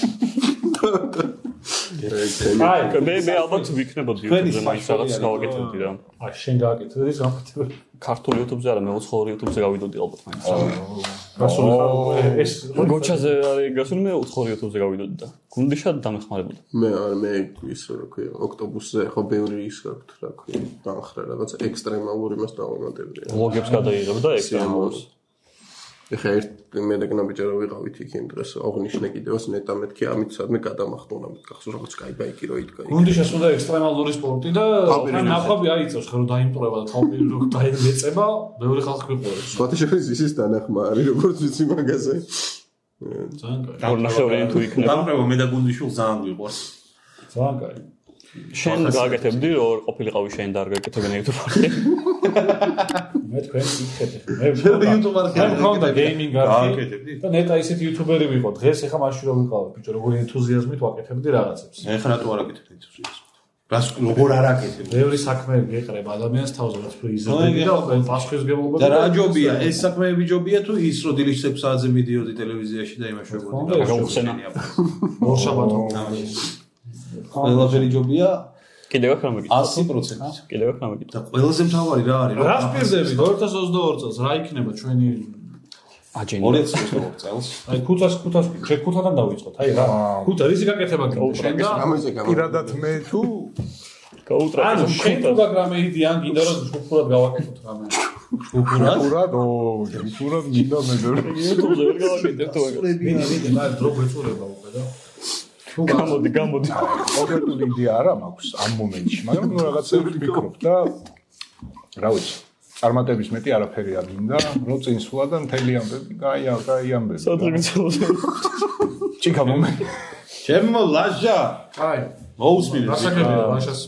Speaker 2: აი,
Speaker 1: მე მე ალბათ ვიქნებოდი
Speaker 3: თქვენი
Speaker 1: YouTube-ზე მაინც
Speaker 3: საშუალო
Speaker 1: რაღაც
Speaker 3: არის,
Speaker 1: გავაკეთებდი რა.
Speaker 2: აი შენ გააკეთე ის გამხდები.
Speaker 1: ქართული YouTube-ზე არა, მე უცხოური YouTube-ზე გავიდოდი ალბათ მაინც.
Speaker 2: გასული ხარ ეს
Speaker 1: გოჩაზე არის გასული მე უცხოური YouTube-ზე გავიდოდი და გუნდიშად დამეხმარებოდა.
Speaker 5: მე არ მე ის რა ქვია, ოქტობუსზე ხო ბევრი ის გაქვთ რა ქვია, დამხრა რაღაც ექსტრემალური მას დავამატებდი.
Speaker 1: ვლოგებს გადაიღებდა ექსტრემულს.
Speaker 5: ეხა ერთ მე რეკნა ბიჭარო ვიყავით იქ იმ დღეს, აღნიშნე კიდევაც ნეტა მეთქი ამით სადმე გადამახტონა, გახსოვს რაღაც кай ბაიკი რო იდგა. იქ.
Speaker 2: გუნდი შესულა ექსტრემალური სპორტი და
Speaker 5: თავპირინებს.
Speaker 2: თან ნახვები აიწევს ხარ რომ დაიმპროვა და თავპირი რო დაიმეწება, ბევრი ხალხი გვიყურებს.
Speaker 5: სხვათა შორის ისის დანახმა არის, როგორც ვიცი მაგაზე.
Speaker 2: ძალიან კაი.
Speaker 1: გორნაშოვანი თუ იქნება.
Speaker 3: დამყარება მე და გუნდიშულ ძალიან გვიყვარს.
Speaker 2: ძალიან კაი.
Speaker 1: შენ გააკეთებდი რომ არ ყოფილიყავი შენ და არ გააკეთებენ YouTube-ზე.
Speaker 2: მე თქვენ იქეთ. მე
Speaker 3: YouTube-არ
Speaker 2: მე მქონდა გეიმინგ არქი
Speaker 3: გააკეთებდი?
Speaker 2: და ნეტა ისეთი YouTuberi ვიყო. დღეს ეხა მაშინ რომ ვიყავ, ბიჭო, როგორი ენთუზიაზმით ვაკეთებდი რაღაცებს.
Speaker 3: ეხლა თუ არ აკეთებ თვითონ. რას როგორ არ აკეთებ?
Speaker 2: ბევრი საქმეები ეყრება ადამიანს თავზე, რაც თუ იზრდება და ყველ პასუხისგებლობა
Speaker 3: და რა ჯობია, ეს საქმეები ჯობია თუ ის რო დილის 6 საათზე მიდიოდი ტელევიზიაში და იმაშოვებოდი.
Speaker 2: რა გაუხსენა. ორშაბათო.
Speaker 3: ყველაფერი ჯობია
Speaker 1: კიდევ ახლა მეკითხე.
Speaker 3: 100%.
Speaker 1: კიდევ ახლა მეკითხე.
Speaker 3: და ყველაზე მთავარი რა არის?
Speaker 2: რას პირდებით 2022 წელს რა იქნება ჩვენი
Speaker 1: აჯენდა.
Speaker 3: 2022 წელს.
Speaker 2: აი ხუთას ხუთას ჩვენ ხუთიდან დავიწყოთ აი რა ხუთა რისი გაკეთება გინდა შენ და
Speaker 5: რამეზე გამო.
Speaker 4: პირადად მე თუ
Speaker 1: გაუტრაკე
Speaker 2: ანუ შენ თუ გაგრამეიდი ან გინდა რომ ჯგუფურად გავაკეთოთ რამე
Speaker 3: უბრალოდ
Speaker 4: ყურად ო ყურად მინდა მე ბევრი
Speaker 1: YouTube-ზე ვერ გავაკეთებ თუ აგ
Speaker 2: მინდა მინდა მაგრამ დრო გვეწურება უკვე და თუ
Speaker 1: გამოდი გამოდი
Speaker 4: კონკრეტული იდეა არა მაქვს ამ მომენტში, მაგრამ ნუ რაღაცები ვფიქრობ და რა ვიცი. წარმატების მეტი არაფერი არ მინდა, რომ წინსვლა და მთელი ამბები, აი, აი ამბები.
Speaker 1: სოტრიგცელოს
Speaker 4: ჩიკა მომენტი.
Speaker 3: ჩემო ლაჟა
Speaker 2: აი
Speaker 3: მოусმინე
Speaker 2: გასაგებია მაშას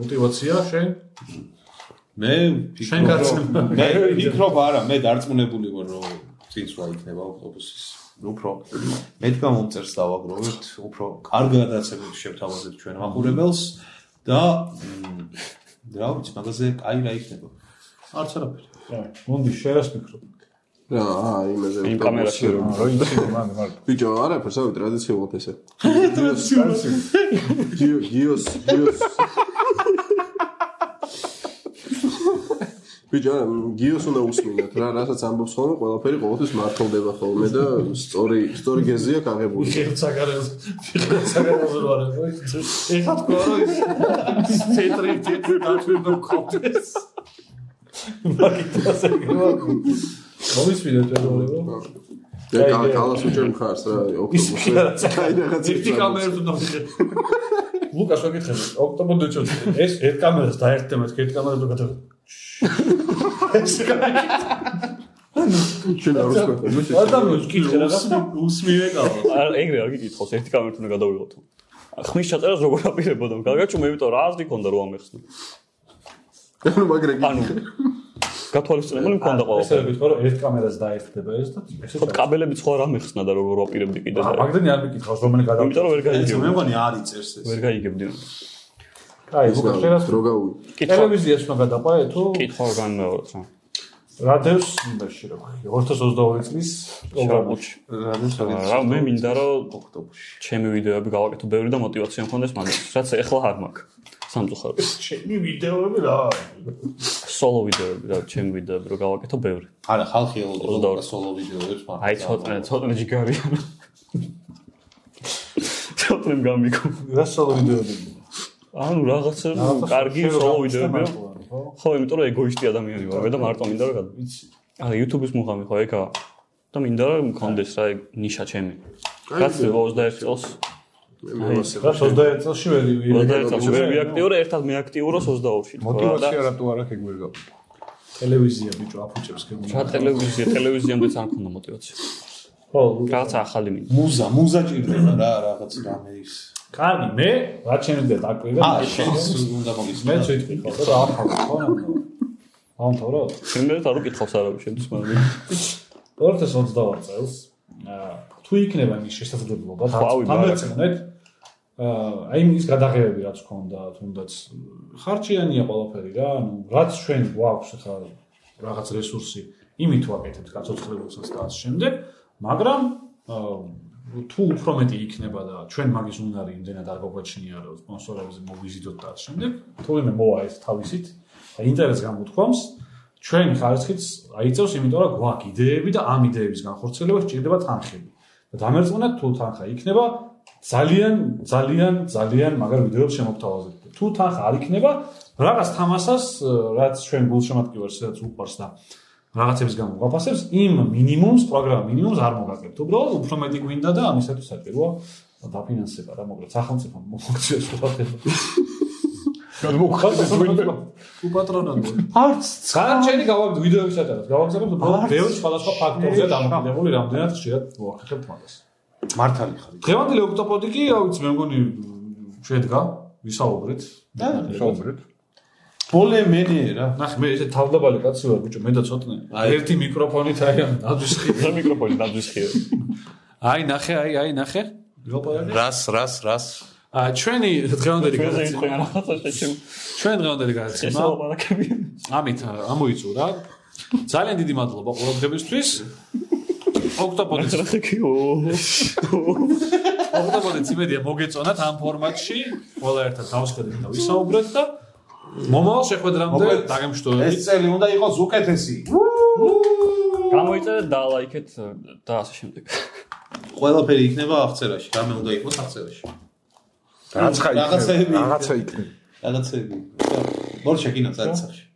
Speaker 2: мотивация შენ
Speaker 3: მე
Speaker 2: შენ
Speaker 3: ფიქრობ
Speaker 2: გაც-
Speaker 3: რომ- მე ფიქრობ არა მე დარწმუნებული ვარ რომ წინსვლა იქნება ავტობუსის უფრო მეთქა მომწერს დავაგროვებთ უფრო კარგად აცებთ შევთავაზებთ ჩვენ მაყურებელს და მ, რა ვიცი მაგაზე კაი რა იქნება არც არაფერი
Speaker 2: გონდი შენ რას ფიქრობ
Speaker 5: რა, აა იმაზე.
Speaker 1: იმ კამერაში რომ
Speaker 4: რო იცი მან მარტო.
Speaker 5: ბიჭო, არაფერს, ავი ტრადიციულად ესე. გიო, გიოს, გიოს. ბიჭო, არა, გიოს უნდა უსმინოთ რა, რასაც ამბობს ხოლმე, ყველაფერი ყოველთვის მართლდება ხოლმე და სწორი, სწორი გეზია გაღებული.
Speaker 2: ფიხერცაგარელზე ფიხერცაგარელზე რა არის ეხა თქვა რომ ის ცენტრი თეთრი დაჭვირდა კონდეს მაგიტაზე გმოგვი მომისმინე წეროლებო
Speaker 5: და კა- კალას უჭერ მხარს რა, ოქტომბერში. აი რაღაც
Speaker 2: ერთი კამერით უნდა ვიხე ლუკას ვაკითხე ოქტომბერ დაჭოდი ეს ერთ კამერას დაერთდება ერთ კამერას გადაგა ეს კამერა
Speaker 5: ჩვენ არ უცხო.
Speaker 2: ადამიანს კითხე რა
Speaker 3: უსმინე კავა
Speaker 1: არ ეგრე არ გიკითხავს ერთი კამერით უნდა გადავიღოთ ხმის ჩაწერას როგორ აპირებოდო გაგაჩუმე იმიტომ რა აზრი ქონდა რომ ამეხსნა
Speaker 5: ანუ მაგრამ
Speaker 1: ანუ გათვალისწინებული მქონდა
Speaker 2: ესე
Speaker 1: ყველა
Speaker 2: ვიტყო რომ ერთ კამერას დაერთდება ეს და ესე
Speaker 1: ხო კაბელები სხვა რა მეხსნა და როგორ ვაპირებდი კიდე და
Speaker 2: მაგდანი არ მიკითხავს რომელი გადაგა
Speaker 1: იმიტომ რომ ვერ გაიგებდი
Speaker 3: ეს მე მგონი არ იწერს ეს
Speaker 1: ვერ გაიგებდი
Speaker 2: აი, უკვე შეიძლება
Speaker 5: როგაუ.
Speaker 1: კითხვა
Speaker 2: ტელევიზიას უნდა გადაყაე თუ
Speaker 1: კითხვა განმეოროთ რა
Speaker 2: რადევს იმაში რა ქვია 2022 წლის პროგრამაში.
Speaker 1: შარაბუჩი
Speaker 3: რამეს
Speaker 1: რა მე მინდა რომ
Speaker 3: ოქტომბერში
Speaker 1: ჩემი ვიდეოები გავაკეთო ბევრი და мотивация მქონდეს მანდ რაც ეხლა არ მაქვს სამწუხაროდ
Speaker 2: ჩემი ვიდეოები რა არის?
Speaker 1: სოლო ვიდეოები და ჩემი ვიდეოები რომ გავაკეთო ბევრი
Speaker 3: არა ხალხი ელოდება
Speaker 1: 22.
Speaker 3: სოლო ვიდეოებს მაგრამ
Speaker 1: აი ცოტა ცოტა ჯიგარი ცოტა გამიკო
Speaker 2: რა სოლო ვიდეოები?
Speaker 1: ანუ რაღაცა კარგი სოლო ვიდეოები რომ ხო იმიტომ რომ ეგოისტი ადამიანი ვარ მე და მარტო მინდა რომ გადავ-
Speaker 2: ვიცი.
Speaker 1: არა YouTube-ის მუღამი ხო ეგა და მინდა რომ მქონდეს რა ეგ ნიშა ჩემი რაც 21 წელს
Speaker 5: მე მოსე.
Speaker 2: რა 21 წელში ვერ
Speaker 1: 21
Speaker 2: ვიყავი.
Speaker 1: წელს ვერ ვიაქტიურე ერთად მეაქტიუროს 22-ში თქო რა და
Speaker 4: мотивация რა თუ არა ეგ ვერ გავიგე.
Speaker 2: ტელევიზია ბიჭო აფუჭებს გემო.
Speaker 1: რა ტელევიზია ტელევიზიამდეც არ მქონდა мотивация
Speaker 2: ხო,
Speaker 1: რაღაცა ახალი მინდა
Speaker 3: მუზა მუზა ჭირდება რა რაღაც რამე ის
Speaker 2: კარგი, მე რა შემიძლია დაკვირდე?
Speaker 3: აა შენს უნდა მოგის
Speaker 2: მეც ვიტყვი ხო და აფავ ხო? ამთავრო
Speaker 1: მე და არ უკითხავს არავის შემდის მაგრამ
Speaker 2: 2022 წელს აა, თუ იქნება მის შესაძლებლობა
Speaker 1: ხვავი, ბარაკ.
Speaker 2: დამეცნოთ აა აი ის გადაღებები რაც ქონდა თუნდაც ხარჭიანია ყველაფერი რა ანუ რაც ჩვენ გვაქვს ხა რაღაც რესურსი იმით ვაკეთებთ გაცოცხლებულსაც და ამ შემდეგ მაგრამ აა, თუ უფრო მეტი იქნება და ჩვენ მაგის უნარი იმდენად არ გვაგვაჩნია რომ სპონსორებზე მოგვიზიდოთ და ამ შემდეგ, თურმე მოვა ეს თავისით და ინტერესს გამოთქვამს, ჩვენ ხარისხიც აიწევს, იმიტომ რომ გვაქვს იდეები და ამ იდეების განხორციელება სჭირდება თანხები. და დამერწმუნეთ თუ თანხა იქნება, ძალიან ძალიან ძალიან მაგარ ვიდეოებს შემოგთავაზებთ. თუ თანხა არ იქნება, რაღაც თამასას, э, რაც ჩვენ გულშემატკივარს, რაც უყვარს და რაღაცების გამო გვაფასებს, იმ მინიმუმს, პროგრამა მინიმუმს არ მოგაკლებთ. უბრალოდ უფრო მეტი გვინდა და ამისათვის საჭიროა დაფინანსება რა, მოკლედ სახელმწიფო მოგწევს უბრალოდ.
Speaker 4: გადმოგხადეთ ვინმე
Speaker 2: უპატრონო. არც საჭირი გავაბ ვიდეოები სადაც გავაგზავნებთ უბრალოდ ბევრ სხვადასხვა ფაქტორზე დამოკიდებული რამდენად ხშირად მოახერხებთ მაგას.
Speaker 3: მართალი ხარ.
Speaker 2: დღევანდელი ოქტოპოდი კი, რა ვიცი, მე მგონი შედგა, ვისაუბრეთ.
Speaker 4: შოუბრეთ.
Speaker 3: ბოლე მენე რა.
Speaker 2: ნახე, მე ესე თავდაბალი კაცი ვარ, ბიჭო, მე და ცოტნე.
Speaker 3: აი.
Speaker 2: ერთი მიკროფონით აი ამ ნაძვისხი.
Speaker 1: და მიკროფონი დაძვისხიო.
Speaker 2: აი ნახე, აი, აი ნახე. ვილაპარაკე.
Speaker 3: რას რას რას
Speaker 2: ა ჩვენი დღევანდელი
Speaker 1: ჩვენზე
Speaker 2: გადაცემა,
Speaker 1: იმყვიან რაღაცა შეჩემ.
Speaker 2: ჩვენ დღევანდელი
Speaker 1: ეს
Speaker 2: გადაცემა
Speaker 1: ლაპარაკები.
Speaker 2: ამით აა, ამოიწურა. ძალიან დიდი მადლობა ყურადღებისთვის. ოქტოპოდის
Speaker 1: რახეკიო.
Speaker 2: ოქტოპოდის იმედია მოგეწონათ ამ ფორმატში, ყველა ერთად დავსხედეთ და ვისაუბრეთ და მომავალ შეხვედრამდე
Speaker 3: მოკლედ,
Speaker 2: დაგემშვიდობებით.
Speaker 3: ეს წელი უნდა იყოს უკეთესი.
Speaker 1: გამოიწერეთ და ლაიქეთ და ასე შემდეგ.
Speaker 3: ყველაფერი იქნება აღწერაში, რამე უნდა იყოს აღწერაში.
Speaker 4: რაღაცა იქნება.
Speaker 3: რაღაცაები.
Speaker 4: რაღაცა იქნება.
Speaker 3: რაღაცები. ბორჩა კინო წარსახში.